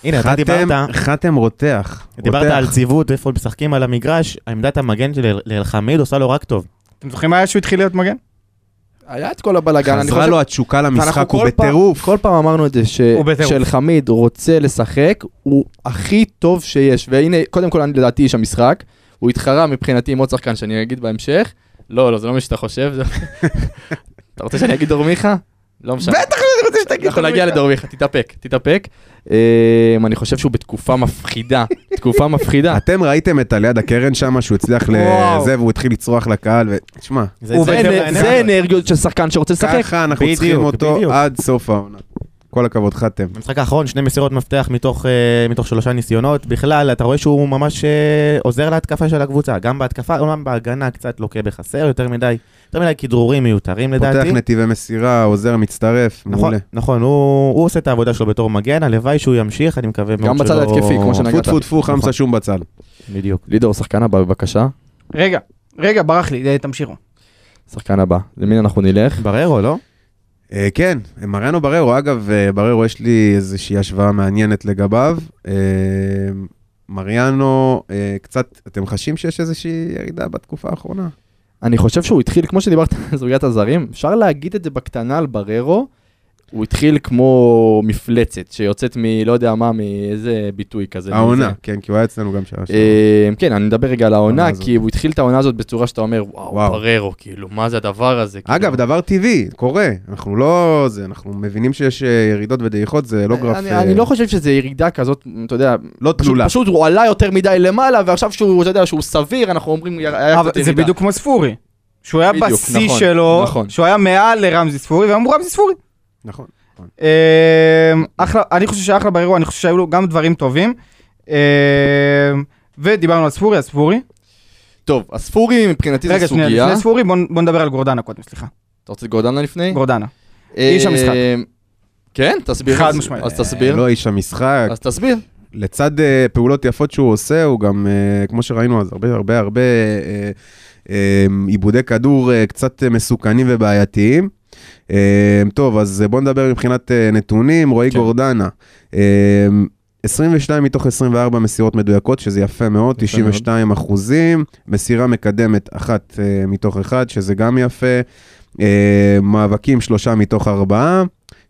S6: הנה, אתה דיברת...
S2: חתם- חתם רותח.
S6: דיברת
S2: רותח.
S6: על ציוות, איפה משחקים על המגרש, עמדת המגן של אל- אלחמיד עושה לו רק טוב.
S3: אתם זוכרים מה היה שהוא התחיל להיות מגן?
S1: היה את כל הבלאגן, אני
S2: חזרה
S1: חושב...
S2: לו התשוקה
S1: ואנחנו
S2: למשחק, הוא
S1: כל פעם-
S2: בטירוף.
S1: כל פעם אמרנו את זה, ש-
S3: הוא בטירוף.
S1: שאלחמיד רוצה לשחק, הוא הכי טוב שיש. והנה, קודם כל, אני לדעתי איש המשחק, הוא התחרה מבחינתי עם עוד שחקן שאני אגיד בהמשך. לא, לא, זה לא מה שאתה חושב. זה- אתה רוצה שאני אגיד דור מיכה? לא משנה.
S3: בטח אני רוצה שתגיד.
S1: אנחנו נגיע לדור מיכה, תתאפק, תתאפק. אמ, אני חושב שהוא בתקופה מפחידה, תקופה מפחידה.
S2: אתם ראיתם את על יד הקרן שם, שהוא הצליח
S3: וואו.
S2: לזה, והוא התחיל לצרוח לקהל, ו... שמע,
S6: זה-
S1: זה-
S6: זה-
S1: זה-
S6: זה-
S1: זה אנרגיות של שחקן שרוצה לשחק.
S2: ככה אנחנו
S6: בדיוק,
S2: צריכים
S6: בדיוק.
S2: אותו עד סוף העונה. כל הכבוד, חתם.
S6: במשחק האחרון, שני מסירות מפתח מתוך, אה, מתוך שלושה ניסיונות. בכלל, אתה רואה שהוא ממש אה, עוזר להתקפה של הקבוצה. גם בהתקפה, אומנם בהגנה קצת לוקה בחסר, יותר מדי, יותר מדי כדרורים מיותרים
S2: פותח
S6: לדעתי.
S2: נתיבי מסירה, עוזר, מצטרף,
S6: נכון,
S2: מעולה.
S6: נכון, הוא, הוא עושה את העבודה שלו בתור מגן, הלוואי שהוא ימשיך, אני מקווה מאוד
S1: גם בצד
S6: שלא-
S1: ההתקפי, כמו שנגעת.
S2: טפו טפו טפו,
S6: נכון.
S2: חמסה שום בצל.
S6: בדיוק.
S1: לידור, שחקן הבא בבקשה.
S3: רגע, רגע, ברח לי, אה, תמשיכו.
S1: שחקן הבא. למי אנחנו נלך?
S6: בררו, לא?
S2: אה, כן, מריאנו בררו, אגב, אה, בררו יש לי איזושהי השוואה מעניינת לגביו. אה, מריאנו, אה, קצת, אתם חשים שיש איזושהי ירידה בתקופה האחרונה?
S1: אני חושב שהוא התחיל, כמו שדיברת על זוגיית הזרים, אפשר להגיד את זה בקטנה על בררו, הוא התחיל כמו מפלצת שיוצאת מ... לא יודע מה, מאיזה ביטוי כזה.
S2: העונה,
S1: מזה.
S2: כן, כי הוא היה אצלנו גם שנה שעברה.
S1: אה, כן, אני מדבר רגע על העונה,
S2: העונה הזאת.
S1: כי הוא התחיל את העונה הזאת בצורה שאתה אומר, וואו,
S2: וואו.
S1: בררו, כאילו, מה זה הדבר הזה?
S2: אגב,
S1: כאילו,
S2: דבר טבעי, קורה. אנחנו לא... זה, אנחנו מבינים שיש אה, ירידות ודעיכות, זה לא גרף...
S1: אני,
S2: אה,
S1: אני לא חושב שזה ירידה כזאת, אתה יודע,
S2: לא
S1: פשוט,
S2: תלולה.
S1: פשוט הוא עלה יותר מדי למעלה, ועכשיו שהוא, אתה יודע, שהוא סביר, אנחנו אומרים, היה
S3: אבל
S1: קצת ירידה.
S3: זה בדיוק כמו ספורי. שהוא היה
S1: בדיוק,
S3: בשיא
S1: נכון,
S3: שלו,
S1: נכון.
S3: שהוא היה מעל לרמזי ספורי, ואמרו רמזי ספורי.
S2: נכון.
S3: אה, אחלה, אני חושב שאחלה באירוע, אני חושב שהיו לו גם דברים טובים. אה, ודיברנו על ספורי, אז ספורי.
S1: טוב, אז פורי מבחינתי
S3: רגע,
S1: זו
S3: שנייה,
S1: סוגיה.
S3: לפני ספורי, בוא בוא נדבר על גורדנה קודם, סליחה.
S1: אתה רוצה את גורדנה לפני?
S3: גורדנה. איש המשחק.
S1: אה, כן, תסביר.
S3: חד
S1: אז-
S3: משמעית.
S1: אז תסביר.
S2: לא איש המשחק.
S1: אז תסביר.
S2: לצד אה, פעולות יפות שהוא עושה, הוא גם, אה, כמו שראינו, אז הרבה הרבה הרבה אה, אה, עיבודי כדור אה, קצת אה, מסוכנים ובעייתיים. אה, טוב, אז אה, בואו נדבר מבחינת אה, נתונים, רועי
S1: כן.
S2: גורדנה. אה, 22 מתוך 24 מסירות מדויקות, שזה יפה מאוד,
S1: יפה
S2: 92 אחוזים. מסירה מקדמת אחת אה, מתוך אחת, שזה גם יפה. אה, מאבקים שלושה מתוך ארבעה.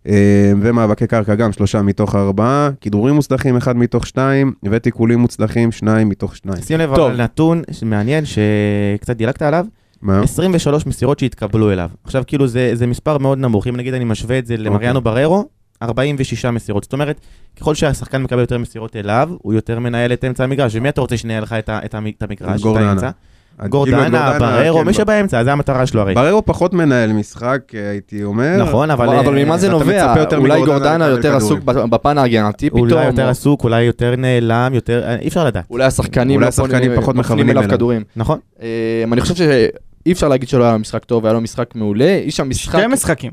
S2: אה, ומאבקי קרקע גם שלושה מתוך ארבעה, כידורים מוצלחים אחד מתוך שתיים, ותיקולים מוצלחים שניים מתוך שניים.
S6: שים לב
S1: טוב.
S6: על נתון מעניין שקצת דילגת עליו,
S2: מה?
S6: 23 מסירות שהתקבלו אליו. עכשיו, כאילו, זה, זה מספר מאוד נמוך. אם נגיד אני משווה את זה למריאנו
S2: אוקיי.
S6: בררו, 46 מסירות. זאת אומרת, ככל שהשחקן מקבל יותר מסירות אליו, הוא יותר מנהל את אמצע המגרש. ומי אתה רוצה שינהל לך את, ה- את, המ- את המגרש?
S2: גורדנה.
S6: את האמצע?
S2: כאילו,
S6: גורדנה, בררו,
S2: כן,
S6: מי שבאמצע, זה המטרה שלו הרי.
S2: בררו פחות מנהל משחק, אה, הייתי אומר.
S6: נכון, אבל...
S1: אבל
S6: אה,
S1: ממה זה
S2: אתה
S1: נובע?
S2: מצפה יותר
S1: אולי
S2: מגורדנה
S1: גורדנה
S2: לקבל
S1: יותר
S2: כדורים.
S1: עסוק בפן ההגנתי פתאום.
S6: אולי יותר
S1: או-
S6: עסוק, אולי יותר נעלם, יותר... אה, אי אפשר לדעת,
S1: אולי השחקנים
S2: אולי
S1: לא
S2: השחקנים
S1: פונים-
S2: פחות
S1: מפנים
S2: מכוונים
S1: אליו
S2: אליו.
S1: כדורים.
S6: נכון?
S1: אה, אני חושב שאי אפשר להגיד שלא היה לו משחק טוב, היה לו משחק מעולה. איש המשחק...
S3: שתי משחקים.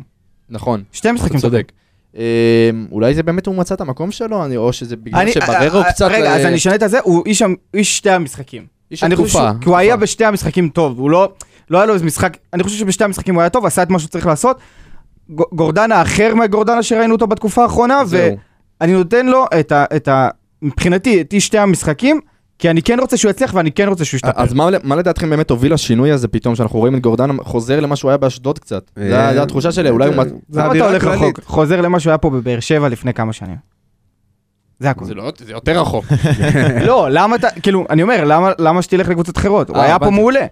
S1: נכון,
S3: שתי
S1: אתה
S3: משחקים.
S1: צודק. אה, אולי זה באמת הוא מצא את המקום שלו, אני- או שזה בגלל
S3: אני-
S1: שבררו
S3: אה,
S1: קצת...
S3: רגע,
S1: אה,
S3: אז אני אשנה את הזה, הוא איש המ- איש שתי המשחקים.
S1: איש
S3: אני חושב
S1: התקופה.
S3: שהוא- כי הוא היה בשתי המשחקים טוב, הוא לא, לא היה לו איזה משחק, אני חושב שבשתי המשחקים הוא היה טוב, עשה את מה שהוא צריך לעשות. ג- גורדנה אחר מהגורדנה שראינו אותו בתקופה האחרונה,
S1: זהו.
S3: ואני נותן לו את ה... את ה מבחינתי, את איש שתי המשחקים, כי אני כן רוצה שהוא יצליח ואני כן רוצה שהוא ישתפר.
S1: אז מה- מה לדעתכם באמת הוביל לשינוי הזה פתאום, שאנחנו רואים את גורדנה חוזר למה שהוא היה באשדוד קצת?
S2: אה,
S1: זו התחושה שלי, אולי הוא...
S2: זה-
S1: מצ-
S2: זה
S3: למה לא אתה
S2: אווירה
S3: הולך
S2: כללית.
S3: רחוק? חוזר למה שהוא היה פה בבאר שבע לפני כמה שנים. זה הכול.
S1: זה לא- זה יותר רחוק.
S3: לא, למה אתה, כאילו, אני אומר, למה- למה שתלך לקבוצות אחרות? הוא
S1: אה,
S3: היה פה
S1: הבנתי.
S3: מעולה.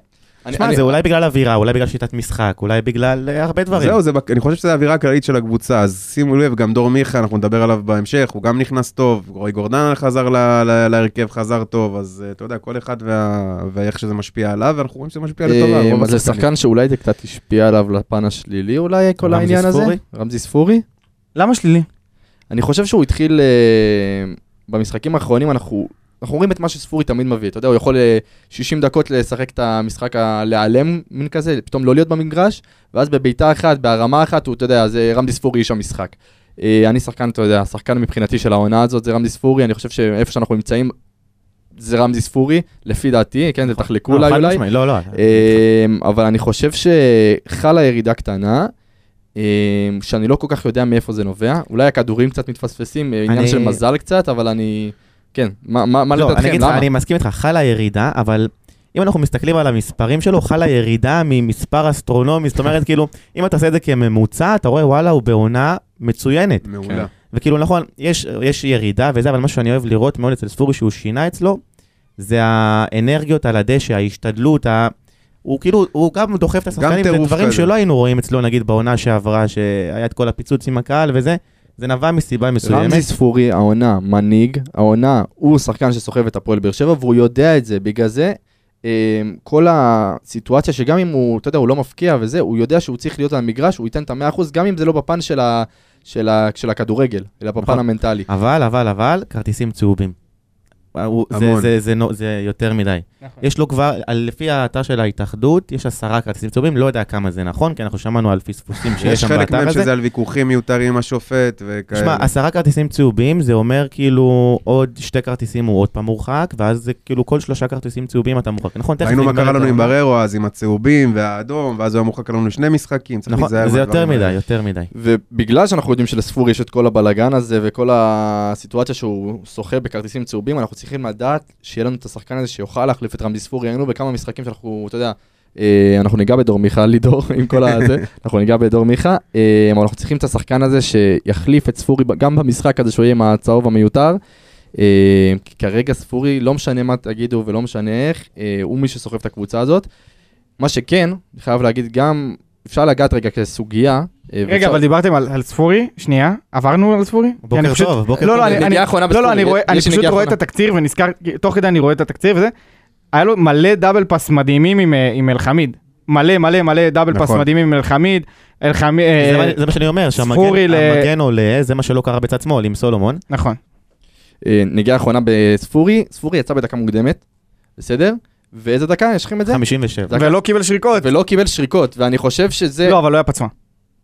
S1: אני-
S6: תשמע,
S1: אני-
S6: זה אולי בגלל אווירה, אולי בגלל שיטת משחק, אולי בגלל אה, הרבה דברים.
S2: זהו, זה, בק- אני חושב שזו האווירה הכללית של הקבוצה, אז שימו לב, גם דור מיכה, אנחנו נדבר עליו בהמשך, הוא גם נכנס טוב, רועי גורדן חזר ל- ל- להרכב, חזר טוב, אז אה, אתה יודע, כל אחד וה- ואיך שזה משפיע עליו, ואנחנו רואים שזה משפיע לטובה.
S1: אה,
S2: רוב
S1: אז זה
S2: השחקנים.
S1: שחקן שאולי זה קצת השפיע עליו לפן השלילי אולי, כל
S6: רמזי
S1: העניין הזה.
S6: ספורי?
S1: רמזי ספורי?
S3: למה שלילי?
S1: אני חושב שהוא התחיל אה, במשחקים האחרונים, אנחנו... אנחנו רואים את מה שספורי תמיד מביא, אתה יודע, הוא יכול אה, 60 דקות לשחק את המשחק הלהיעלם, מין כזה, פתאום לא להיות במגרש, ואז בבעיטה אחת, בהרמה אחת, הוא, אתה יודע, זה רמדי ספורי איש המשחק. אה, אני שחקן, אתה יודע, שחקן מבחינתי של העונה הזאת זה רמדי ספורי, אני חושב שאיפה שאנחנו נמצאים זה רמדי ספורי, לפי דעתי, כן, זה תחלקו
S6: לא,
S1: אולי
S6: חד
S1: אולי.
S6: משמעית, לא, לא.
S1: אמ, אבל אני חושב שחלה ירידה קטנה, אמ, שאני לא כל כך יודע מאיפה זה נובע. אולי הכדורים קצת מתפספסים, אה, עניין
S6: אני-
S1: של מזל קצת, אבל אני... כן, מה- מה מה
S6: לא, אני
S1: לדעתכם?
S6: אגיד לך,
S1: למה?
S6: אני מסכים איתך, חלה ירידה, אבל אם אנחנו מסתכלים על המספרים שלו, חלה ירידה ממספר אסטרונומי, זאת אומרת, כאילו, אם אתה עושה את זה כממוצע, אתה רואה, וואלה, הוא בעונה מצוינת.
S2: מעולה.
S6: וכאילו, נכון, יש, יש ירידה וזה, אבל מה שאני אוהב לראות מאוד אצל ספורי שהוא שינה אצלו, זה האנרגיות על הדשא, ההשתדלות, ה... הוא כאילו, הוא גם דוחף את השחקנים, זה
S2: טירוף
S6: דברים
S2: כזה.
S6: שלא היינו רואים אצלו, נגיד, בעונה שעברה, שהיה את כל הפיצוץ עם הקהל וזה, זה נבע מסיבה מסוימת.
S1: רמזי ספורי, העונה, מנהיג, העונה, הוא שחקן שסוחב את הפועל באר שבע, והוא יודע את זה, בגלל זה אמ, כל הסיטואציה שגם אם הוא, אתה יודע, הוא לא מפקיע וזה, הוא יודע שהוא צריך להיות על המגרש, הוא ייתן את המאה אחוז, גם אם זה לא בפן של ה- של ה- של הכדורגל, אלא בפן
S6: נכון.
S1: המנטלי.
S6: אבל, אבל, אבל, כרטיסים צהובים. הוא- זה,
S2: המון.
S6: זה, זה, נו- זה יותר מדי.
S3: נכון.
S6: יש לו כבר, על- לפי האתר של ההתאחדות, יש עשרה כרטיסים צהובים, לא יודע כמה זה נכון, כי אנחנו שמענו על פספוסים שיש
S2: יש
S6: שם
S2: חלק
S6: באתר
S2: מהם
S6: הזה.
S2: שזה על ויכוחים מיותרים עם השופט וכאלה.
S6: תשמע, עשרה כרטיסים צהובים, זה אומר כאילו עוד שתי כרטיסים הוא עוד פעם מורחק, ואז זה כאילו כל שלושה כרטיסים צהובים אתה מורחק. נכון, תכף
S2: ראינו
S6: זה
S2: מה
S6: יגמר
S2: קרה
S6: את
S2: לנו עם
S6: העונה.
S2: בררו אז, עם הצהובים והאדום, ואז הוא היה מורחק לנו לשני משחקים, צריך
S6: נכון,
S2: להיזהר.
S6: זה יותר
S2: מהדברים
S6: מדי,
S2: האלה.
S6: יותר
S3: כן,
S6: מדי.
S1: ובגלל שאנחנו יודעים שלספורי יש את כל הבלגן הזה וכל הסיטואציה שהוא סוחב בכרטיסים צהובים, אנחנו צריכים לדעת שיהיה לנו את השחקן הזה שיוכל להחליף את רמזי ספורי. היינו בכמה משחקים שאנחנו, אתה יודע, אה, אנחנו ניגע בדור מיכה, לידור, עם כל הזה, אנחנו ניגע בדור מיכה, אה, אבל אנחנו צריכים את השחקן הזה שיחליף את ספורי ב- גם במשחק הזה שהוא יהיה עם הצהוב המיותר. אה, כי כרגע ספורי, לא משנה מה תגידו ולא משנה איך, אה, הוא מי שסוחב את הקבוצה הזאת. מה שכן, אני חייב להגיד גם, אפשר לגעת רגע כסוגיה. אה,
S3: רגע,
S1: ואפשר-
S3: אבל דיברתם על על ספורי, שנייה, עברנו על ספורי? כי
S6: בוקר
S3: אני פשוט-
S6: טוב, בוקר
S3: לא,
S6: טוב.
S3: לא, אני-
S1: נגיעה אחרונה
S3: לא, לא,
S1: בספורי,
S3: אני רואה-
S1: יש
S3: אני
S1: לי
S3: פשוט
S1: נגיעה
S3: רואה את
S1: אחרונה.
S3: התקציר ונזכר, תוך כדי אני רואה את התקציר וזה, היה לו מלא דאבל פאס מדהימים עם, אה, עם אלחמיד. מלא מלא מלא דאבל פאס
S2: נכון.
S3: מדהימים עם אלחמיד, אלחמיד,
S6: זה
S3: אה,
S6: מה- זה מה שאני אומר,
S3: ספורי
S6: שהמגן
S3: ל-
S6: המגן עולה, זה מה שלא קרה בצד שמאל עם סולומון.
S3: נכון.
S1: אה, נגיעה אחרונה בספורי, ספורי יצא בדקה מוקדמת, בסדר? ואיזה דקה יש לכם את זה?
S6: 57.
S1: דקה.
S3: ולא קיבל שריקות.
S1: ולא קיבל שריקות, ואני חושב שזה...
S3: לא, אבל לא היה פצוע.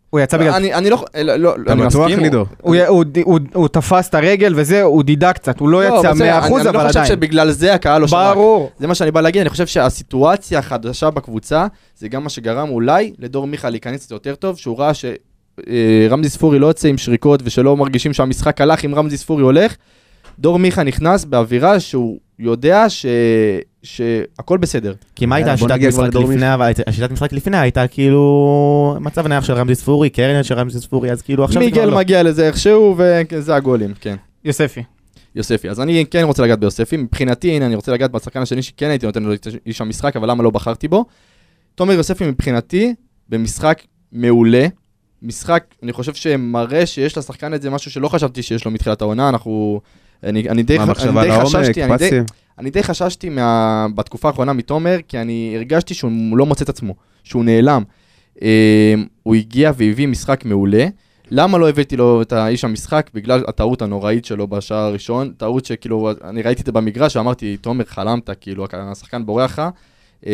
S3: הוא יצא בגלל...
S1: אני אני לא, ח- לא, לא,
S2: אתה
S1: אני
S2: בטוח,
S1: מסכים,
S2: לידו?
S3: הוא י- הוא ד- הוא- הוא תפס את הרגל וזה, הוא דידה קצת, הוא לא יצא 100%
S1: בסדר, אני-
S3: אבל
S1: אני לא חושב
S3: עדיין.
S1: שבגלל זה הקהל לא שמע.
S3: ברור.
S1: זה מה שאני בא להגיד, אני חושב שהסיטואציה החדשה בקבוצה, זה גם מה שגרם אולי לדור מיכה להיכנס קצת יותר טוב, שהוא ראה שרמזי ספורי לא יוצא עם שריקות ושלא מרגישים שהמשחק הלך אם רמזי ספורי הולך. דור מיכה נכנס באווירה שהוא יודע ש... שהכל בסדר.
S6: כי מה הייתה
S2: יאללה, בוא
S6: השיטת
S2: נגיע כבר
S6: משחק
S2: לדור מיכה.
S6: לפני, אבל השיטת משחק לפני הייתה כאילו מצב נייח של רמזי ספורי, קרן של רמזי ספורי, אז כאילו עכשיו זה כבר
S1: מיגל
S6: לא.
S1: מגיע לזה איכשהו, וזה הגולים, כן.
S3: יוספי.
S1: יוספי. אז אני כן רוצה לגעת ביוספי. מבחינתי, הנה, אני רוצה לגעת בשחקן השני שכן הייתי נותן לו את איש המשחק, אבל למה לא בחרתי בו? תומר יוספי מבחינתי, במשחק מעולה. משחק, אני חושב שמראה שיש לשחקן הזה משהו שלא חשבתי שיש לו מתחילת העונה, אנחנו... אני, אני די,
S2: מה,
S1: ח-
S2: מחשבה
S1: אני די
S2: לעומק,
S1: חששתי, אני די,
S2: פסים?
S1: אני די חששתי מה... בתקופה האחרונה מתומר, כי אני הרגשתי שהוא לא מוצא את עצמו, שהוא נעלם. אה, הוא הגיע והביא משחק מעולה. למה לא הבאתי לו את האיש המשחק? בגלל הטעות הנוראית שלו בשער הראשון. טעות שכאילו, אני ראיתי את זה במגרש, אמרתי, תומר, חלמת, כאילו, השחקן בורח לך. אה,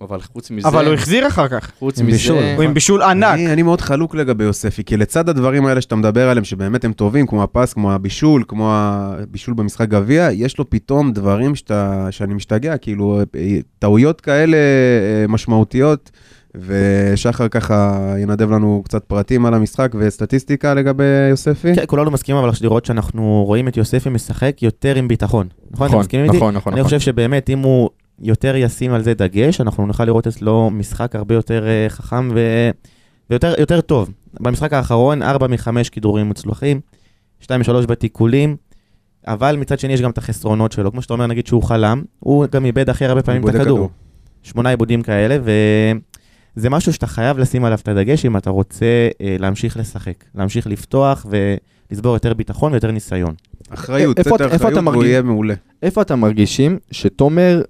S1: אבל חוץ מזה,
S3: אבל הוא החזיר אחר כך.
S1: חוץ
S2: עם בישול.
S1: מזה,
S3: הוא עם בישול ענק.
S2: אני, אני מאוד חלוק לגבי יוספי, כי לצד הדברים האלה שאתה מדבר עליהם, שבאמת הם טובים, כמו הפס, כמו הבישול, כמו הבישול במשחק גביע, יש לו פתאום דברים שאתה, שאני משתגע, כאילו, אה, טעויות כאלה אה, משמעותיות, ושחר ככה ינדב לנו קצת פרטים על המשחק וסטטיסטיקה לגבי יוספי.
S6: כן, כולנו מסכימים אבל לראות שאנחנו רואים את יוספי משחק יותר עם ביטחון. נכון, אתם
S1: נכון,
S6: מסכימים איתי?
S1: נכון, נכון,
S6: אני
S1: נכון.
S6: חושב שבאמת אם הוא יותר ישים על זה דגש, אנחנו נוכל לראות אצלו משחק הרבה יותר אה, חכם ו... ויותר יותר טוב. במשחק האחרון, 4 מ-5 כידורים מוצלחים, 2 מ-3 בתיקולים, אבל מצד שני יש גם את החסרונות שלו. כמו שאתה אומר, נגיד שהוא חלם, הוא גם איבד הכי הרבה פעמים את
S2: בודק
S6: הכדור. שמונה עיבודים כאלה, וזה משהו שאתה חייב לשים עליו את הדגש אם אתה רוצה אה, להמשיך לשחק, להמשיך לפתוח ולצבור יותר ביטחון ויותר ניסיון.
S2: אחריות,
S1: איפה-
S2: סתר
S1: איפה אתה
S2: אחריות, והוא
S1: מרגיש?
S2: יהיה מעולה.
S1: איפה אתם מרגישים שתומר,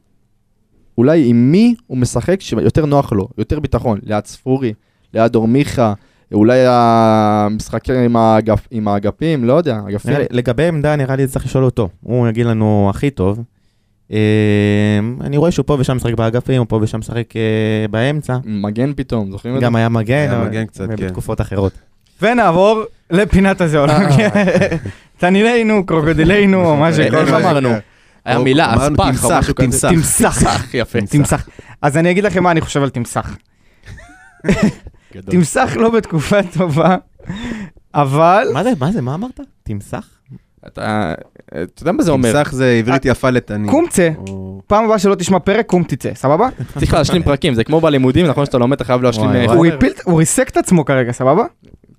S1: אולי עם מי הוא משחק שיותר נוח לו, יותר ביטחון? ליד ספורי, ליד אור מיכה, אולי המשחקים עם, האגפ, עם האגפים, לא יודע,
S2: כן.
S1: אגפים.
S6: נראה לי, לגבי עמדה, נראה לי צריך לשאול אותו, הוא יגיד לנו הכי טוב. אה, אני רואה שהוא פה ושם משחק באגפים, הוא פה ושם משחק אה, באמצע.
S1: מגן פתאום, זוכרים את זה?
S6: גם היה מגן,
S2: היה
S6: אבל-
S2: מגן קצת, כן.
S6: בתקופות אחרות.
S3: ונעבור לפינת הזיאולוגיה. תנינינו, קרוקודילינו, או מה
S1: איך
S3: שקורה.
S1: אמרנו? היה מילה,
S2: אוקיי, אמרנו
S1: אספח,
S2: תמסך,
S1: או משהו כזה.
S2: תמסך.
S3: תמסך,
S1: יפה.
S3: תמסך. אז אני אגיד לכם מה אני חושב על תמסך.
S1: גדול.
S3: תמסך לא בתקופה טובה, אבל...
S6: מה זה, מה זה, מה אמרת? תמסך?
S1: אתה אתה יודע מה זה אומר?
S2: תמסך זה עברית יפה לתנין.
S3: קומצה,
S2: או-
S3: פעם הבאה שלא תשמע פרק, קום תצא, סבבה?
S1: צריך להשלים פרקים, זה כמו בלימודים, נכון שאתה לומד, אתה חייב להשלים...
S6: וואי,
S1: אה,
S6: וואי.
S3: הוא הפיל, הוא ריסק את עצמו כרגע, סבבה?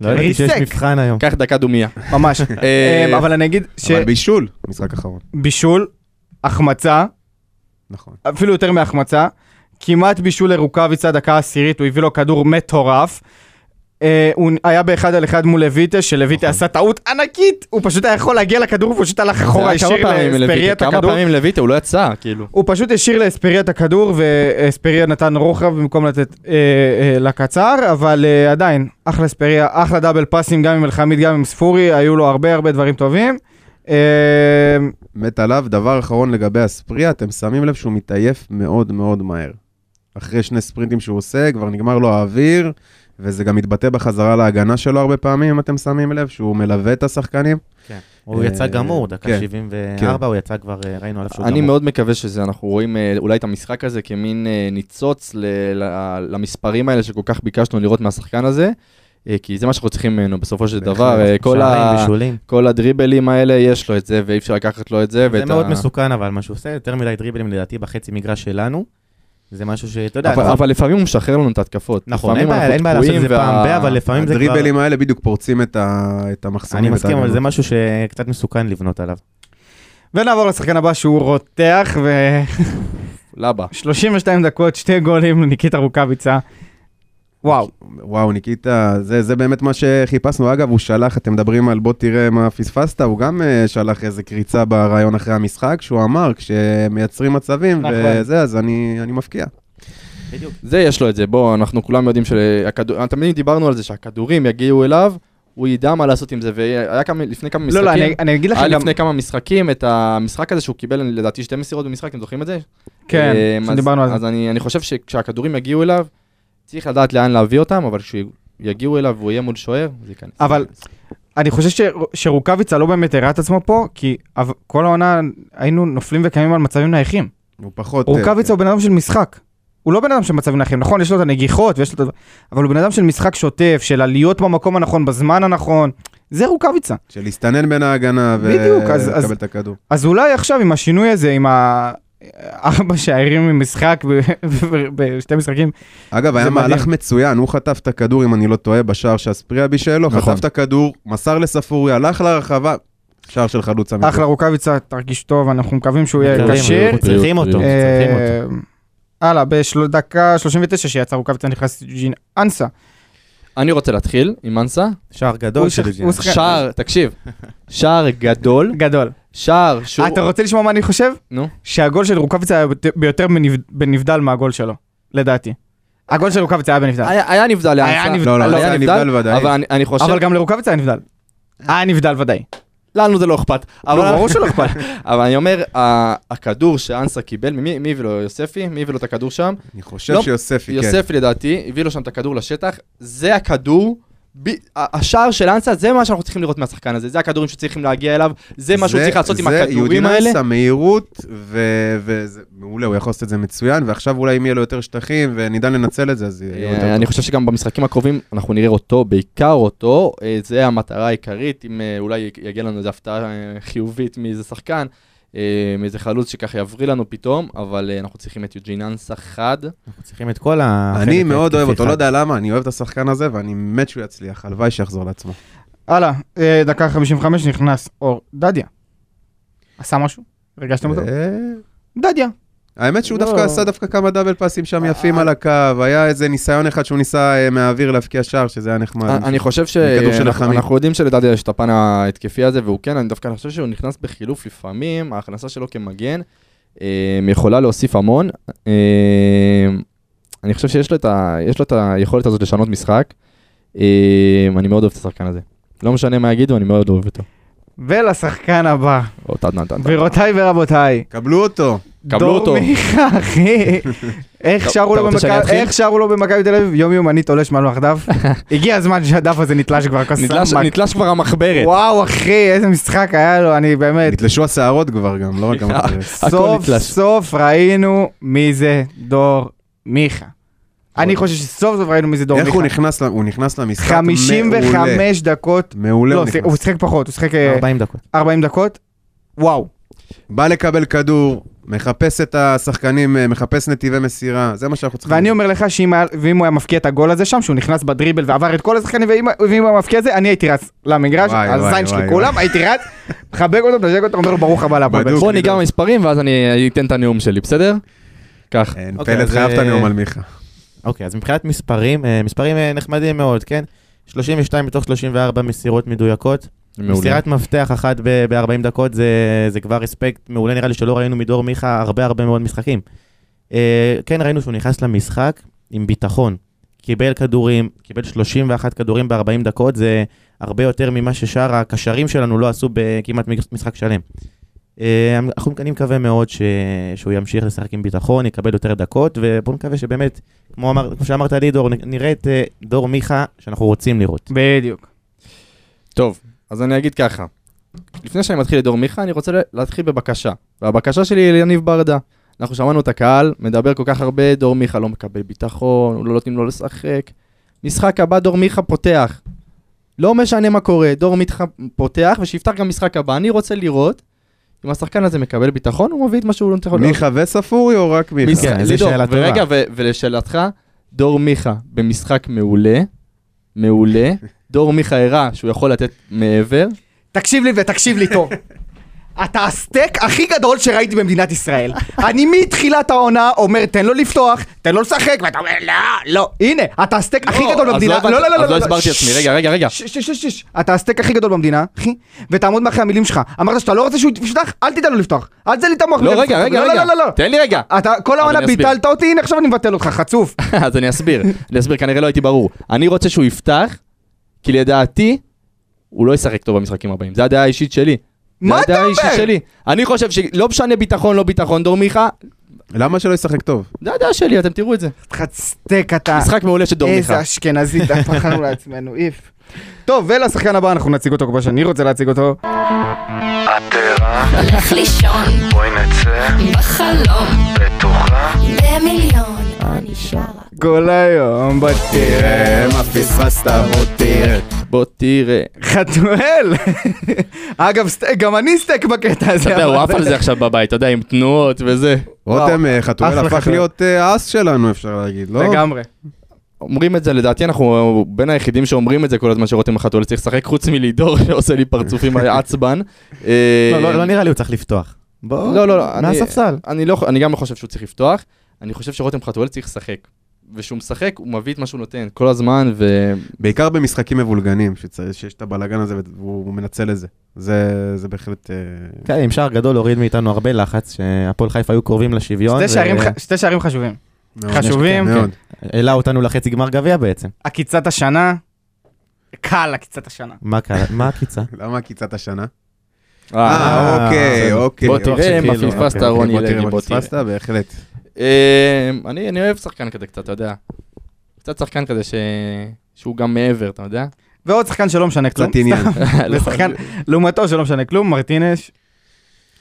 S6: לא
S2: כן.
S6: ידעתי שיש
S3: ריסק.
S6: מבחן היום.
S2: אה,
S1: קח דקה דומייה.
S3: ממש.
S1: אה,
S3: אמ, אבל אני אגיד
S2: אבל בישול, משחק אחרון,
S3: שבישול, החמצה,
S2: נכון.
S3: אפילו יותר מהחמצה, כמעט בישול לרוקאביצה, דקה עשירית, הוא הביא לו כדור מטורף. אה, הוא היה באחד על אחד מול לויטה, שלויטה עשה טעות ענקית, הוא פשוט היה יכול להגיע לכדור, הוא פשוט הלך
S1: זה
S3: אחורה,
S1: היה כמה
S3: השאיר
S1: פעמים
S3: לאספריה
S1: לויטה,
S3: את
S1: כמה
S3: הכדור.
S1: פעמים לויטה, הוא לא יצא, כאילו.
S3: הוא פשוט השאיר לאספריה את הכדור, ואספריה נתן רוחב במקום לתת אה, אה, לקצר, אבל אה, עדיין, אחלה אספריה, אחלה דאבל פאסים, גם עם אלחמיד, גם עם ספורי, היו לו הרבה הרבה דברים טובים. אה,
S2: מת עליו. דבר אחרון לגבי הספרי, אתם שמים לב שהוא מתעייף מאוד מאוד מהר. אחרי שני ספרינטים שהוא עושה, כבר נגמר לו האוויר, וזה גם מתבטא בחזרה להגנה שלו הרבה פעמים, אם אתם שמים לב, שהוא מלווה את השחקנים.
S6: הוא
S2: אה,
S6: יצא גמור, דקה
S2: כן,
S6: 74, הוא יצא כבר, אה, ראינו עליו שהוא גמור.
S1: אני מאוד מקווה שזה, אנחנו רואים אה, אולי את המשחק הזה כמין אה, ניצוץ ל- ל- למספרים האלה שכל כך ביקשנו לראות מהשחקן הזה, אה, כי זה מה שאנחנו צריכים ממנו בסופו של
S2: בהחלט.
S1: דבר, אה, כל ה-
S6: שערים, בישולים.
S1: כל הדריבלים האלה יש לו את זה ואי אפשר לקחת לו את זה.
S6: זה
S1: ואת
S6: מאוד
S1: ה-
S6: מסוכן אבל מה שהוא עושה, יותר מדי דריבלים לדעתי בחצי מגרש שלנו. זה משהו שאתה יודע,
S1: אבל
S6: אנחנו-
S1: אבל לפעמים הוא משחרר לנו את ההתקפות.
S6: נכון,
S1: לפעמים
S6: אין בעיה,
S1: אנחנו
S6: אין בעיה לעשות את זה
S1: תקועים
S6: פעם
S1: וה-
S6: ב, אבל לפעמים זה כבר...
S2: הדריבלים האלה בדיוק פורצים את, ה... את המחסומים.
S6: אני
S2: ואת
S6: מסכים, אבל זה
S2: ההגנות.
S6: משהו שקצת מסוכן לבנות עליו.
S3: ונעבור לשחקן הבא שהוא רותח,
S1: לבה.
S3: ו-32 דקות, שתי גולים, ניקיטה רוקאביצה. וואו.
S2: וואו, ניקיטה, זה, זה באמת מה שחיפשנו. אגב, הוא שלח, אתם מדברים על בוא תראה מה פספסת, הוא גם uh, שלח איזה קריצה ברעיון אחרי המשחק, שהוא אמר, כשמייצרים מצבים
S3: נכון.
S2: וזה, אז אני, אני מפקיע.
S6: בדיוק.
S1: זה יש לו את זה, בוא, אנחנו כולם יודעים שהכדור... תמיד דיברנו על זה שהכדורים יגיעו אליו, הוא ידע מה לעשות עם זה, והיה כמה- לפני כמה
S3: לא,
S1: משחקים...
S3: לא, אני- אני אגיד
S1: היה
S3: לכם גם...
S1: לפני כמה משחקים את המשחק הזה שהוא קיבל לדעתי שתי מסירות במשחק, אתם זוכרים את זה?
S3: כן,
S1: אמ, אז-
S3: דיברנו על זה.
S1: אז אני אני חושב שכשהכדורים יגיעו אליו, צריך לדעת לאן להביא אותם, אבל כשהוא יגיעו אליו והוא יהיה מול שוער, זה ייכנס.
S3: אבל- אני חושב ש... שרוקאביצה לא באמת הראה את עצמו פה, כי אב- כל העונה היינו נופלים וקיימים על מצבים נייחים.
S1: כן,
S2: הוא פחות... אה,
S3: רוקאביצה הוא בן אדם של משחק. הוא לא בן אדם של מצבים נייחים, נכון? יש לו את הנגיחות ויש לו את... ה- אבל הוא בן אדם של משחק שוטף, של עליות במקום הנכון, בזמן הנכון. זה רוקאביצה.
S2: של להסתנן בין ההגנה
S3: בדיוק, אז- אז-
S2: ולקבל את הכדור.
S3: אז אולי עכשיו עם השינוי הזה, עם ה... ארבע שערים ממשחק ב- ב- בשתי משחקים,
S2: אגב, היה
S3: זה מדהים.
S2: מהלך מצוין, הוא חטף את הכדור, אם אני לא טועה, בשער שהספריאבי שלו,
S1: נכון.
S2: חטף את הכדור, מסר לספורי, הלך לרחבה, שער של חלוץ אמיתי.
S3: אחלה רוקאביצה, תרגיש טוב, אנחנו מקווים שהוא יהיה
S6: מקווים,
S3: כשיר.
S6: אנחנו צריכים אותו,
S1: אה,
S6: צריכים אותו.
S3: אה, הלאה, לא, בדקה 39 שיצא רוקאביצה נכנס ג'ין אנסה.
S1: אני רוצה להתחיל עם מנסה.
S6: שער
S3: הוא
S6: גדול של
S3: שח-
S6: ג'ינה.
S3: הוא שח-
S1: שער, תקשיב, שער גדול,
S3: גדול.
S1: שער שהוא...
S3: אה, אתה רוצה לשמוע מה אני חושב?
S1: נו.
S3: שהגול של רוקאביצה היה בת- ביותר בנבד- בנבדל מהגול שלו, לדעתי. הגול של רוקאביצה היה בנבדל.
S1: היה היה נבדל לאנסה.
S3: היה נבדל.
S2: לא, לא,
S1: לא,
S2: זה היה נבדל ודאי.
S1: אבל אני- אני חושב...
S3: אבל גם לרוקאביצה היה נבדל. היה נבדל ודאי.
S1: לנו זה לא אכפת.
S3: לא, ברור
S1: שלא אכפת. אבל אני אומר, ה- הכדור שאנסה קיבל, מי מי הביא לו? יוספי? מי הביא לו את הכדור שם?
S2: אני חושב
S1: לא,
S2: שיוספי, כן.
S1: יוספי לדעתי, הביא לו שם את הכדור לשטח, זה הכדור. ב- ה- השער של אנסה זה מה שאנחנו צריכים לראות מהשחקן הזה, זה הכדורים שצריכים להגיע אליו, זה מה שהוא צריך לעשות עם הכדורים
S2: זה
S1: האלה.
S2: יודינס, המהירות, ו- וזה מעולה, הוא יכול לעשות את זה מצוין, ועכשיו אולי אם יהיה לו יותר שטחים וניתן לנצל את זה, אז יהיה יותר
S1: אה, אני חושב שגם במשחקים הקרובים אנחנו נראה אותו, בעיקר אותו, אה, זה המטרה העיקרית, אם אה, אולי יגיע לנו איזו הפתעה אה, חיובית מאיזה שחקן, אה, מאיזה חלוץ שככה יבריא לנו פתאום, אבל אה, אנחנו צריכים את יוג'ין אנסה חד.
S6: אנחנו צריכים את כל ה...
S2: אני
S6: החלק
S2: מאוד אוהב
S6: ההתקפי
S2: אותו,
S6: אחד.
S2: לא יודע למה, אני אוהב את השחקן הזה, ואני מת שהוא יצליח, הלוואי שיחזור לעצמו.
S3: הלאה, אה, דקה 55 נכנס אור דדיה. עשה משהו? הרגשתם אותו?
S2: אה,
S3: דדיה.
S2: האמת שהוא
S3: לא.
S2: דווקא עשה דווקא כמה דאבל פאסים שם
S3: אה,
S2: יפים
S3: אה.
S2: על הקו, היה איזה ניסיון אחד שהוא ניסה אה, מהאוויר להבקיע שער, שזה היה נחמד.
S3: אה,
S1: אני אני חושב
S2: מכדור של נחמים.
S1: שאנחנו יודעים שלדעתי יש את הפן ההתקפי הזה, והוא כן, אני דווקא חושב שהוא נכנס בחילוף לפעמים, ההכנסה שלו כמגן אה, יכולה להוסיף המון. אה, אני חושב שיש לו את ה- יש לו את היכולת הזאת לשנות משחק. אה, אני מאוד אוהב את השחקן הזה. לא משנה מה יגידו, אני מאוד אוהב אותו.
S3: ולשחקן הבא,
S1: או, תד, תד, תד.
S3: גבירותיי ורבותיי.
S2: קבלו אותו.
S1: קבלו
S3: דור
S1: אותו.
S3: מיכה, אחי. איך
S1: אתה-
S3: שרו
S1: אתה
S3: לו
S1: רוצה שאני
S3: במכבי-
S1: אתחיל?
S3: איך שרו לו במכבי תל אביב? יום יומני תולש מלוח דף. הגיע הזמן שהדף הזה נתלש כבר כסף.
S1: נתלש- נתלש כבר המחברת.
S3: וואו, אחי, איזה משחק היה לו, אני באמת...
S2: נתלשו השערות כבר גם, לא רק
S3: אה,
S2: המחיר.
S1: הכל
S3: סוף
S1: נתלש.
S3: סוף ראינו מי זה דור מיכה. אני חושב שסוף סוף ראינו מי זה דור
S2: נכון. איך
S3: מיכה.
S2: הוא נכנס ל- הוא נכנס למשחק? מעולה.
S3: 55 דקות.
S2: מעולה
S3: לא,
S2: הוא
S3: הוא
S2: נכנס.
S3: שיחק פחות, הוא שיחק אה,
S6: 40 דקות.
S3: 40 דקות. וואו.
S2: בא לקבל כדור, מחפש את השחקנים, אה, מחפש נתיבי מסירה, זה מה שאנחנו צריכים.
S3: ואני אומר לך שאם היה- ואם הוא היה מבקיע את הגול הזה שם, שהוא נכנס בדריבל ועבר את כל השחקנים, ואם ואם הוא היה מבקיע את זה, אני הייתי רץ למגרש,
S2: וואי,
S3: על
S2: וואי,
S3: הזין שלי
S2: וואי,
S3: כולם, הייתי רץ, מחבק אותו, מנשק אותו, אומר לו ברוך הבא לבוא.
S2: בדוק.
S1: בוא ניגע במספרים ואז אני אתן את הנאום שלי, בסדר? כך.
S2: אין,
S6: אוקיי,
S2: פלד
S6: אז,
S2: חייב את
S6: אה,
S2: הנאום על מיכה.
S6: אוקיי, אז מבחינת מספרים, אה, מספרים אה, נחמדים מאוד, כן? 32 מתוך 34 מסירות מדויקות.
S1: מעולה.
S6: מסירת מפתח אחת ב-40 דקות זה, זה כבר אספקט מעולה, נראה לי שלא ראינו מדור מיכה הרבה הרבה מאוד משחקים. אה, כן ראינו שהוא נכנס למשחק עם ביטחון. קיבל כדורים, קיבל 31 כדורים ב-40 דקות, זה הרבה יותר ממה ששאר הקשרים שלנו לא עשו בכמעט מג- משחק שלם. אה, אנחנו אני מקווה מאוד ש... שהוא ימשיך לשחק עם ביטחון, יקבל יותר דקות, ובואו נקווה שבאמת, כמו, אמר... כמו שאמרת לי, דור, נ- נראה את אה, דור מיכה שאנחנו רוצים לראות.
S3: בדיוק.
S1: טוב, אז אני אגיד ככה. לפני שאני מתחיל לדור מיכה, אני רוצה ל- להתחיל בבקשה. והבקשה שלי היא ליניב ברדה. אנחנו שמענו את הקהל, מדבר כל כך הרבה, דור מיכה לא מקבל ביטחון, לא נותנים לו לשחק. משחק הבא, דור מיכה פותח. לא משנה מה קורה, דור מיכה פותח, ושיפתח גם משחק הבא. אני רוצה לראות אם השחקן הזה מקבל ביטחון, הוא מביא את מה שהוא לא צריך
S2: מיכה וספורי או רק מיכה?
S1: משחק,
S6: כן,
S1: לידור,
S6: זו שאלה טובה.
S1: ורגע, ו- ולשאלתך, דור מיכה במשחק מעולה, מעולה, דור מיכה הראה שהוא יכול לתת מעבר,
S3: תקשיב לי ותקשיב לי טוב. אתה הסטייק הכי גדול שראיתי במדינת ישראל. אני מתחילת העונה אומר, תן לו לפתוח, תן לו לשחק, ואתה אומר, לא, לא. הנה, אתה הסטייק הכי
S1: לא,
S3: גדול
S1: אז
S3: במדינה.
S1: הבנתי- אז לא הסברתי את עצמי,
S3: ששש.
S1: רגע, רגע, רגע.
S3: שש, שש, שש, שש, אתה הסטייק הכי גדול במדינה, אחי, ותעמוד מאחורי המילים שלך. אמרת שאתה לא רוצה שהוא יפתח, אל תיתן לו לפתוח. אל תיתן לי את המוח.
S1: לא,
S3: מילה
S1: רגע,
S3: לפתוח.
S1: רגע,
S3: לא,
S1: רגע,
S3: לא, לא, לא.
S1: תן לי רגע.
S3: אתה כל העונה
S1: אני אסביר.
S3: ביטלת אותי, הנה עכשיו אני מבטל אותך, חצוף.
S1: אז אני אסביר, אני אסביר, כנראה לא הייתי ברור. אני רוצה שהוא יפתח, כי לדעתי, הוא לא ישחק טוב במשחקים הבאים, זו הדעה האישית שלי.
S3: מה
S1: זו
S3: אתה
S1: הדעה האישית
S3: אומר?
S1: שלי. אני חושב שלא משנה ביטחון, לא ביטחון, לא דור מיכה,
S2: למה שלא ישחק טוב?
S1: זה הדעה שלי, אתם תראו את זה.
S3: חצטק אתה.
S1: משחק מעולה של דור מיכה.
S3: אה. איזה אשכנזי דפחנו לעצמנו, איף. טוב, ולשחקן הבא אנחנו נציג אותו כמו שאני רוצה להציג אותו.
S4: עטרה,
S5: הולך לישון
S4: בואי נצא,
S5: בחלום
S4: בטוחה,
S5: במיליון אני שרה
S3: כל היום בתראה מה פספסת אותי.
S1: בוא תראה.
S3: חתואל! אגב, סט- גם אני סטייק בקטע הזה.
S1: אתה יודע,
S3: אבל
S1: הוא עף על זה עכשיו בבית, אתה יודע, עם תנועות וזה.
S2: רותם אה, חתואל
S3: אחלה
S2: הפך
S3: חתואל.
S2: להיות אה, האס שלנו, אפשר להגיד, לא?
S3: לגמרי.
S1: אומרים את זה, לדעתי אנחנו אה, בין היחידים שאומרים את זה כל הזמן שרותם החתול צריך לשחק, חוץ מלידור שעושה לי פרצופים עצבן. אה,
S6: לא, לא, לא נראה לי הוא צריך לפתוח. בוא,
S1: לא, לא, לא, אני-
S6: מהספסל.
S1: אני לא- אני גם לא חושב שהוא צריך לפתוח, אני חושב שרותם חתואל צריך לשחק. וכשהוא משחק, הוא מביא את מה שהוא נותן כל הזמן, ו...
S2: בעיקר במשחקים מבולגנים, שצריך- שיש את הבלאגן הזה והוא הוא מנצל את זה. זה זה בהחלט... אה,
S6: כן, עם שער גדול הוריד מאיתנו הרבה לחץ, שהפועל חיפה היו קרובים
S1: לא,
S6: לשוויון.
S3: שתי
S6: ו-
S3: שערים ח- שתי שערים חשובים.
S2: מאוד.
S3: חשובים.
S2: מאוד.
S6: העלה אותנו לחצי גמר גביע בעצם.
S3: עקיצת השנה. קל עקיצת השנה.
S6: מה קרה? מה הקיצה?
S2: למה עקיצת השנה?
S6: אה,
S2: אה, אוקיי,
S6: בסדר.
S2: אוקיי.
S1: בוא
S2: אוקיי,
S1: תראה מה
S6: שכאילו,
S1: פספסת,
S6: אוקיי,
S1: רוני
S2: בוא תראה
S1: לוי,
S2: מה
S1: בוא תראה.
S2: פספסת, בהחלט.
S1: אה, אני אני אוהב שחקן כזה קצת, אתה יודע. קצת שחקן כזה ש- שהוא גם מעבר, אתה יודע?
S3: ועוד שחקן שלא משנה כלום.
S2: קצת עניין.
S1: לא.
S3: ושחקן לעומתו שלא משנה כלום, מרטינש.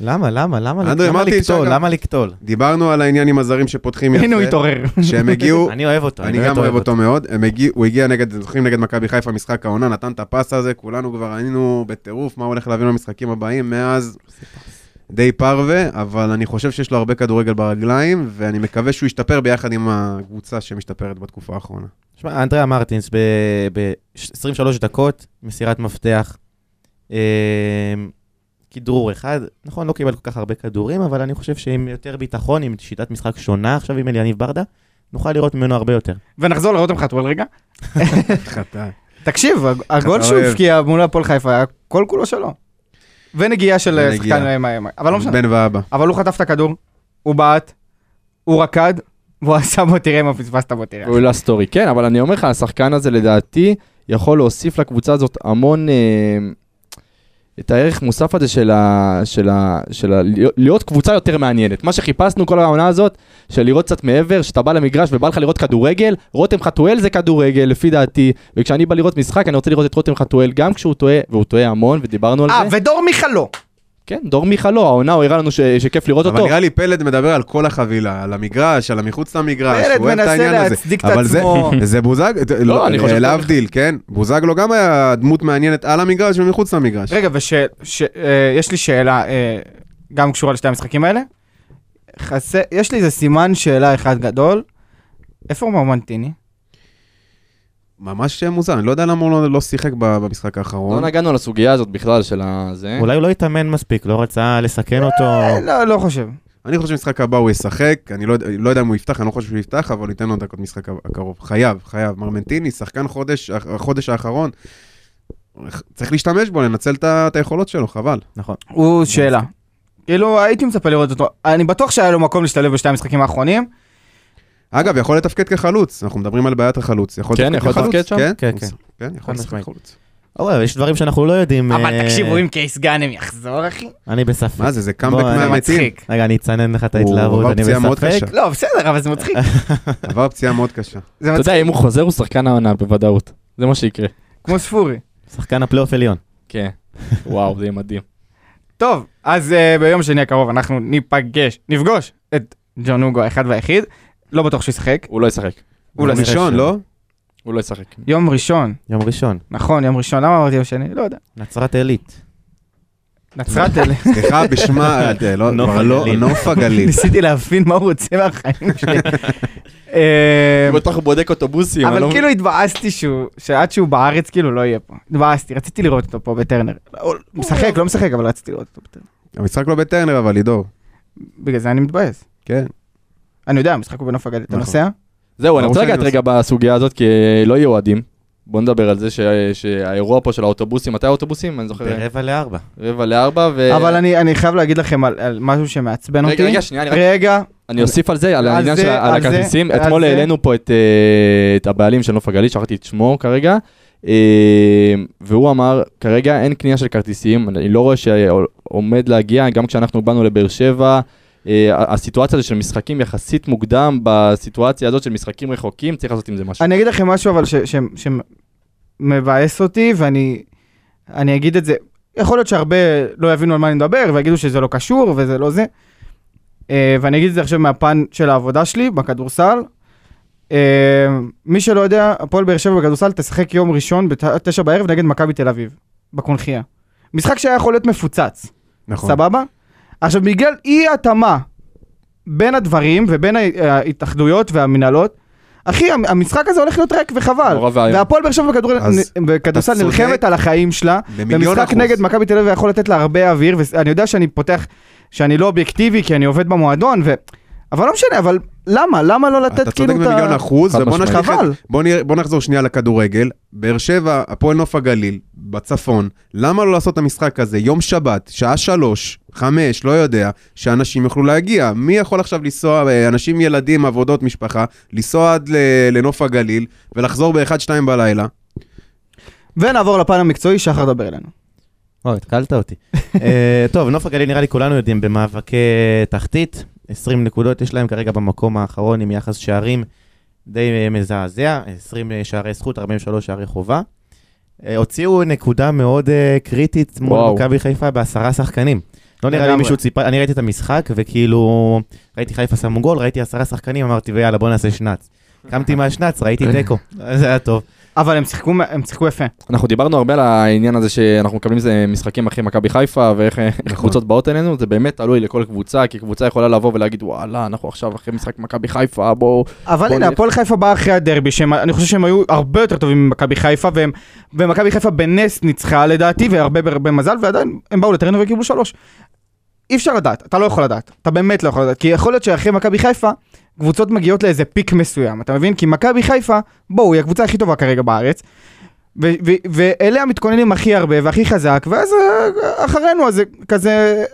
S6: למה? למה? למה
S2: אנדרי,
S6: למה
S2: אמרתי,
S6: לקטול?
S2: שאגב-
S6: למה לקטול?
S2: דיברנו על העניין עם הזרים שפותחים יפה.
S3: הנה הוא התעורר.
S2: שהם הגיעו,
S6: אני אוהב אותו.
S2: אני
S6: באמת
S2: גם אוהב אותו מאוד, הם הגיעו- הוא הגיע נגד, זוכרים נגד מכבי חיפה, משחק העונה, נתן את הפס הזה, כולנו כבר היינו בטירוף, מה הולך להביא למשחקים הבאים, מאז די פרווה, אבל אני חושב שיש לו הרבה כדורגל ברגליים, ואני מקווה שהוא ישתפר ביחד עם הקבוצה שמשתפרת בתקופה האחרונה.
S6: שמע, אנדריה מרטינס ב-23 דקות, מסירת מפתח, אמ, כדרור אחד, נכון, לא קיבל כל כך הרבה כדורים, אבל אני חושב שעם יותר ביטחון, עם שיטת משחק שונה עכשיו עם אליניב ברדה, נוכל לראות ממנו הרבה יותר.
S3: ונחזור לרותם חתואל רגע.
S2: חטא.
S3: תקשיב, הג- הגול
S2: אתה
S3: שהוא
S2: אוהב.
S3: הבקיע מול הפועל חיפה היה כל כולו שלו. ונגיעה של אה,
S2: ונגיעה.
S3: שחקן אה, מה- מה- אבל לא משנה.
S2: בן ואבא.
S3: אבל הוא חטף את הכדור, הוא בעט, הוא רקד, והוא עשה בוא תראה מה פספסת בוא תראה.
S1: הוא העלה סטורי, כן, אבל אני אומר לך, השחקן הזה לדעתי יכול להוסיף לקבוצה הזאת המון... אה, את הערך מוסף הזה של ה... של ה... של ה... להיות- להיות קבוצה יותר מעניינת. מה שחיפשנו כל העונה הזאת, של לראות קצת מעבר, שאתה בא למגרש ובא לך לראות כדורגל, רותם חתואל זה כדורגל, לפי דעתי, וכשאני בא לראות משחק, אני רוצה לראות את רותם חתואל, גם כשהוא טועה, והוא טועה המון, ודיברנו על
S3: אה,
S1: זה.
S3: ודור מיכה לא.
S1: כן, דור מיכה לא, העונה הוא הראה לנו ש... שכיף לראות
S2: אבל
S1: אותו.
S2: נראה לי פלד מדבר על כל החבילה, על המגרש, על המחוץ למגרש,
S3: פלד
S2: הוא אוהב את
S3: מנסה
S2: העניין הזה.
S3: להצדיק את
S2: אבל זה-
S3: עצמו.
S2: זה בוזגלו,
S1: לא, אני חושב-
S2: להבדיל, כן? בוזגלו גם היה דמות מעניינת על המגרש ומחוץ למגרש.
S3: רגע, ויש לי שאלה, אה, גם קשורה לשתי המשחקים האלה. חסר, יש לי איזה סימן שאלה אחד גדול. איפה הוא מומנטיני?
S2: ממש מוזר, אני לא יודע למה הוא לא- לא שיחק ב- במשחק
S1: לא
S2: האחרון.
S1: נגענו על הסוגיה הזאת בכלל של ה...
S3: אה?
S1: זה.
S6: אולי הוא לא התאמן מספיק, לא רצה לסכן אותו.
S3: לא, לא חושב.
S2: אני חושב שבמשחק הבא הוא ישחק, אני לא יודע- לא יודע אם הוא יפתח, אני לא חושב שהוא יפתח, אבל הוא ייתן לו דקות משחק הקרוב. חייב, חייב. מרמנטיני, שחקן חודש, החודש האחרון. צריך להשתמש בו, לנצל את ה- את היכולות שלו, חבל.
S6: נכון.
S3: הוא שאלה. כאילו, הייתי מצפה לראות אותו. אני בטוח שהיה לו מקום להשתלב בשתי המשחקים האחרונים.
S2: אגב, יכול לתפקד כחלוץ, אנחנו מדברים על בעיית החלוץ.
S1: כן, יכול
S2: כחלוץ,
S1: לתפקד שם?
S2: כן,
S6: כן, כן.
S2: כן,
S6: חד
S2: יכול לשחק
S6: משמעית.
S2: כחלוץ.
S6: אבל יש דברים שאנחנו לא יודעים. אה,
S3: אבל תקשיבו, אם קייס גאנם יחזור, אחי.
S6: אני בספק.
S2: מה זה, זה
S6: בוא,
S2: קאמבק
S6: אני-
S3: זה
S2: מהמתים.
S3: מצחיק.
S6: רגע, אני אצנן לך את
S2: הוא
S6: ההתלהבות,
S2: עבר
S6: אני
S2: פציעה מאוד
S6: בספק.
S2: קשה.
S3: לא, בסדר, אבל זה מצחיק.
S2: עבר פציעה מאוד קשה.
S3: זה
S1: אתה
S3: מצחיק.
S1: יודע, אם הוא חוזר, הוא שחקן העונה בוודאות. זה מה שיקרה.
S3: כמו ספורי.
S6: שחקן הפלייאוף עליון.
S1: כן. וואו, זה יהיה מדהים.
S3: טוב, אז אה, ביום שני הקרוב אנחנו ניפגש, נפגוש את ג'ון אוגו האחד והיחיד. לא בטוח שהוא ישחק.
S1: הוא לא ישחק.
S2: הוא
S6: לא נראה
S2: ראשון,
S6: שהוא.
S2: לא?
S1: הוא לא ישחק.
S3: יום ראשון.
S6: יום ראשון,
S3: נכון, יום ראשון. למה אמרתי יום שני? לא יודע.
S6: נצרת עילית.
S3: נצרת אלה.
S2: סליחה, בשמה, אה, לא-
S6: נוף
S2: כבר לא-
S6: הגליל.
S2: נוף הגליל.
S3: ניסיתי להבין מה הוא רוצה מהחיים שלי. אה,
S1: הוא בטח בודק אוטובוסים. אני
S3: אבל
S1: לא-
S3: כאילו התבאסתי שהוא, שעד שהוא בארץ כאילו לא יהיה פה. התבאסתי, רציתי לראות אותו פה בטרנר. לא, הוא משחק, לא משחק, אבל רציתי לראות אותו בטרנר.
S2: המשחק לא בטרנר, אבל לידור.
S3: בגלל זה אני מתבאס.
S2: כן.
S3: אני יודע, המשחק הוא בנוף הגליל. אתה
S2: נכון.
S3: נוסע?
S1: זהו, אני
S2: ברור
S1: רוצה
S2: שאני
S1: לגעת רגע בסוגיה הזאת, כי אה, לא יהיו אוהדים. בוא נדבר על זה שה- שהאירוע פה של האוטובוסים, מתי האוטובוסים? אני זוכר,
S6: ברבע לארבע.
S1: רבע לארבע, ו...
S3: אבל אני אני חייב להגיד לכם על- על משהו שמעצבן אותי.
S1: אה, רגע, רגע, שנייה, אני רק-
S3: רגע,
S1: אני אוסיף על זה, על
S3: על
S1: העניין
S3: זה,
S1: של ה- על
S3: על זה,
S1: הכרטיסים.
S3: על
S1: אתמול
S3: זה.
S1: העלינו פה את, אה, את הבעלים של נוף הגליל, שכחתי את שמו כרגע, אה, והוא אמר, כרגע אין קנייה של כרטיסים, אני לא רואה שעומד להגיע, גם כשאנחנו באנו לבאר שבע, אה, ה- הסיטואציה הזו של משחקים יחסית מוקדם, בסיטואציה הזאת של משחקים רחוקים, צריך לעשות עם זה משהו.
S3: אני אגיד לכם משהו אבל ש- ש- שמבאס אותי, ואני אני אגיד את זה. יכול להיות שהרבה לא יבינו על מה אני מדבר, ויגידו שזה לא קשור וזה לא זה. אה, ואני אגיד את זה עכשיו מהפן של העבודה שלי בכדורסל. אה, מי שלא יודע, הפועל באר שבע בכדורסל תשחק יום ראשון בתשע בערב נגד מכבי תל אביב, בקונחייה. משחק שהיה יכול להיות מפוצץ.
S2: נכון.
S3: סבבה? עכשיו, בגלל אי התאמה בין הדברים ובין ההתאחדויות והמנהלות, אחי, המ- המשחק הזה הולך להיות ריק וחבל.
S1: נורא ואיום.
S3: והפועל באר שבע בכדורגל-
S2: אז
S3: בכדורסל
S2: אתה צודק.
S3: נלחמת על החיים שלה,
S2: במיליון
S3: במשחק
S2: אחוז.
S3: נגד מכבי תל אביב יכול לתת לה הרבה אוויר, ואני יודע שאני פותח, שאני לא אובייקטיבי כי אני עובד במועדון, ו... אבל לא משנה, אבל למה? למה לא לתת
S2: אתה
S3: כאילו
S2: צודק
S3: את ה...
S2: במיליון אחוז,
S1: חד
S2: ובוא
S1: משמעית.
S2: נשליך את-
S3: חבל.
S2: בוא נראה- בוא נחזור שנייה לכדורגל. באר שבע, הפועל נוף הגליל, בצפון, למה לא לעשות את המשחק הזה? יום שבת, שעה שלוש, חמש, לא יודע, שאנשים יוכלו להגיע. מי יכול עכשיו לנסוע, אה, אנשים, ילדים, עבודות, משפחה, לנסוע עד ל- לנוף הגליל ולחזור באחד, שתיים בלילה?
S3: ונעבור לפן המקצועי, שחר דבר אלינו.
S6: אוי, התקלת אותי. אה, טוב, נוף הגליל נראה לי כולנו יודעים במאבקי תחתית. 20 נקודות יש להם כרגע במקום האחרון עם יחס שערים די אה, מזעזע, 20 שערי זכות, 43 שערי חובה. אה, הוציאו נקודה מאוד אה, קריטית מול
S1: וואו.
S6: מכבי חיפה בעשרה שחקנים. לא נראה לי
S3: לגמרי.
S6: מישהו ציפה, אני ראיתי את המשחק וכאילו ראיתי חיפה שמו גול, ראיתי עשרה שחקנים, אמרתי ויאללה בוא נעשה שנץ. קמתי מהשנץ, ראיתי תיקו, זה היה טוב.
S3: אבל הם שיחקו, הם שיחקו יפה.
S1: אנחנו דיברנו הרבה על העניין הזה שאנחנו מקבלים איזה משחקים אחרי מכבי חיפה ואיך אה, איך
S3: נכון.
S1: קבוצות באות אלינו, זה באמת תלוי לכל קבוצה, כי קבוצה יכולה לבוא ולהגיד וואלה, אנחנו עכשיו אחרי משחק מכבי חיפה, בואו...
S3: אבל
S1: בוא
S3: הנה,
S1: נלך.
S3: הפועל חיפה באה אחרי הדרבי, שאני חושב שהם היו הרבה יותר טובים ממכבי חיפה, והם- ומכבי חיפה בנס ניצחה לדעתי, והרבה בהרבה מזל, ועדיין הם באו לטרנו וקיבלו שלוש. אי אפשר לדעת, אתה לא יכול לדעת, אתה באמת לא יכול לדעת, כי יכול להיות שאחרי מכבי חיפה, קבוצות מגיעות לאיזה פיק מסוים, אתה מבין? כי מכבי חיפה, בואו, היא הקבוצה הכי טובה כרגע בארץ, ו- ו- ואליה מתכוננים הכי הרבה והכי חזק, ואז אה, אחרינו, אז זה כזה...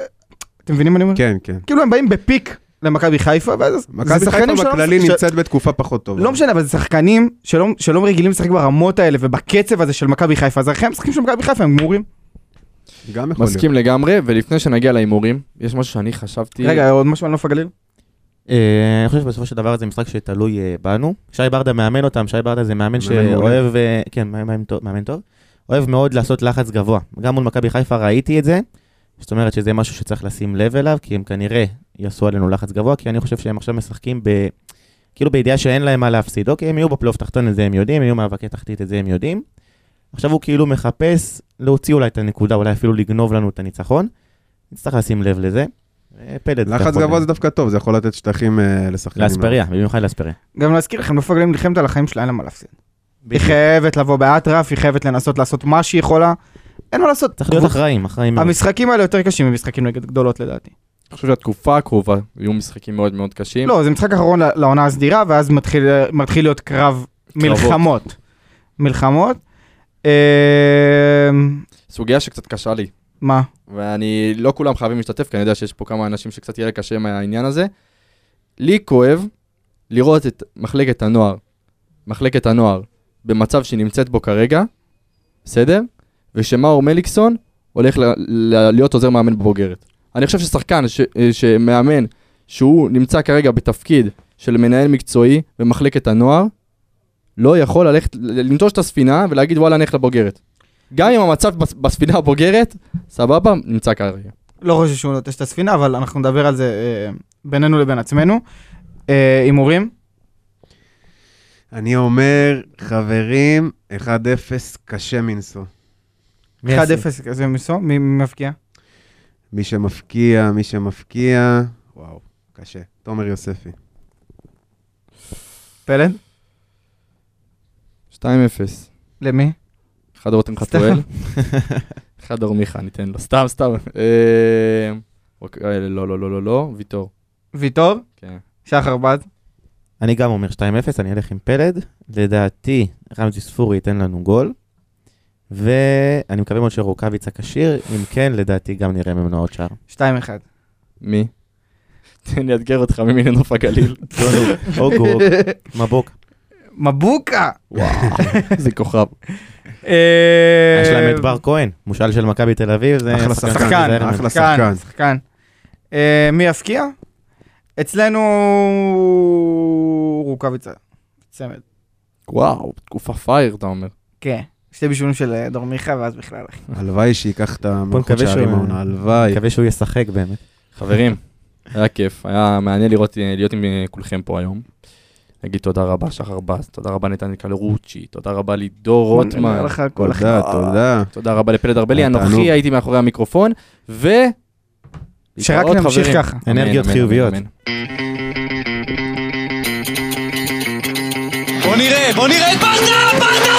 S3: אתם מבינים מה אני אומר?
S2: כן, כן.
S3: כאילו הם באים בפיק למכבי חיפה, ואז
S2: מכבי חיפה
S3: שלא-
S2: בכללי
S3: של-
S2: נמצאת בתקופה פחות טובה.
S3: לא משנה, אבל זה שחקנים שלא, שלא רגילים לשחק ברמות האלה ובקצב הזה של מכבי חיפה, אז אחרי המשחקים של מכבי חיפה הם גמורים.
S2: גם יכול להיות.
S1: מסכים לגמרי, ולפני שנגיע להימורים, יש משהו שאני חשבתי...
S3: רגע, עוד משהו על נוף הגליל?
S6: אה, אני חושב שבסופו של דבר זה משחק שתלוי אה, בנו. שי ברדה מאמן אותם, שי ברדה זה מאמן
S2: מעולה.
S6: שאוהב, אה, כן, מאמן- מאמן טוב- מאמן טוב, אוהב מאוד לעשות לחץ גבוה. גם מול מכבי חיפה ראיתי את זה, זאת אומרת שזה משהו שצריך לשים לב אליו, כי הם כנראה יעשו עלינו לחץ גבוה, כי אני חושב שהם עכשיו משחקים ב... כאילו בידיעה שאין להם מה להפסיד. אוקיי, הם יהיו בפלייאוף תחתון, את זה הם יודעים, הם יהיו מאבקי תחתית, את זה הם יודעים. עכשיו הוא כאילו מחפש להוציא אולי את הנקודה, אולי אפילו לגנוב לנו את הניצחון. נצטרך לשים לב לזה. אה, פלד. אתה
S2: לחץ
S6: יכול-
S2: גבוה זה דווקא טוב, זה יכול לתת שטחים אה, לשחקנים.
S6: לאספריה, במיוחד לאספריה.
S3: גם להזכיר לכם, נוף הגליל נלחמת על החיים שלה, אין לה מה להפסיד. היא חייבת לבוא באטרף, היא חייבת לנסות לעשות מה שהיא יכולה, אין מה לעשות.
S6: צריך להיות אחראים, אחראים. מאוד.
S3: המשחקים האלה יותר קשים ממשחקים נגד גדולות לדעתי.
S1: אני חושב שהתקופה הקרובה יהיו משחקים מאוד מאוד קשים.
S3: לא, זה משחק אחרון ל- לעונה הסדירה, ואז מתחיל, מתחיל להיות קרב
S1: קרבות.
S3: מלחמות. מלחמות. אה,
S1: סוגיה שקצת קשה לי,
S3: מה?
S1: ואני, לא כולם חייבים להשתתף, כי אני יודע שיש פה כמה אנשים שקצת יהיה קשה עם העניין הזה. לי כואב לראות את מחלקת הנוער, מחלקת הנוער, במצב שהיא נמצאת בו כרגע, בסדר? ושמאור מליקסון הולך ל- ל- להיות עוזר מאמן בבוגרת. אני חושב ששחקן ש- אה, שמאמן, שהוא נמצא כרגע בתפקיד של מנהל מקצועי במחלקת הנוער, לא יכול ללכת, ל- לנטוש את הספינה ולהגיד וואלה, אני אלך לבוגרת. גם אם המצב בס- בספינה הבוגרת, סבבה, נמצא כרגע.
S3: לא חושב שהוא נוטש את הספינה, אבל אנחנו נדבר על זה אה, בינינו לבין עצמנו. אה, הימורים?
S2: אני אומר, חברים, 1-0 קשה מנשוא.
S6: מי
S3: 1-0
S6: יעשה?
S3: כזה מסו? מי מי מבקיע?
S2: מי שמפקיע, מי שמפקיע, וואו, קשה. תומר יוספי.
S1: 2-0.
S3: למי?
S1: אחד רותם חתואל, אחד אור מיכה, ניתן לו. סתם, סתם. אה, אוקיי, אה, לא, לא, לא, לא, לא, ויטור.
S3: ויטור?
S1: כן.
S3: שחר בת?
S6: אני גם אומר 2-0, אני אלך עם פלד. לדעתי, רמזי ספורי ייתן לנו גול. ואני מקווה מאוד שרוקאביץ' הכשיר, אם כן, לדעתי גם נראה ממנו עוד שער.
S3: 2-1.
S1: מי? תן לי אאתגר אותך ממין נוף הגליל.
S6: אוגו, מבוק.
S3: מבוקה!
S1: וואו, איזה כוכב.
S3: אה,
S6: יש להם את בר כהן, מושל של מכבי תל אביב. זה
S2: אחלה שחקן,
S6: שצריך להיזהר ממנו.
S2: אחלה
S3: שחקן,
S2: שחקן.
S3: שחקן. כן. אה, מי יפקיע? אצלנו רוקאביצה. צמד.
S1: וואו, תקופה פייר, אתה אומר.
S3: כן. שתי בישולים של אה, דור מיכה ואז בכלל. אחי.
S2: הלוואי שייקח את המלכות
S6: נקווה
S2: שערים
S6: שהוא-
S2: העונה, הלוואי.
S6: מקווה שהוא ישחק באמת.
S1: חברים, היה כיף, היה מעניין לראות, להיות עם אה, כולכם פה היום. נגיד תודה רבה, שחר בס, תודה רבה נתן קלרוצ'י, תודה רבה לידור
S3: אני אומר
S1: רוטמן,
S3: לך הכל אחי.
S2: תודה, תודה.
S1: תודה רבה לפלד ארבלי,
S2: היה תענוג.
S1: אנוכי הייתי מאחורי המיקרופון, ו...
S3: שרק
S1: להתראות,
S3: נמשיך
S1: חברים.
S3: ככה.
S1: אמן,
S6: אנרגיות
S1: אמן,
S6: חיוביות.
S1: אמן.
S7: בוא נראה, בוא נראה את ברדה, ברדה! לא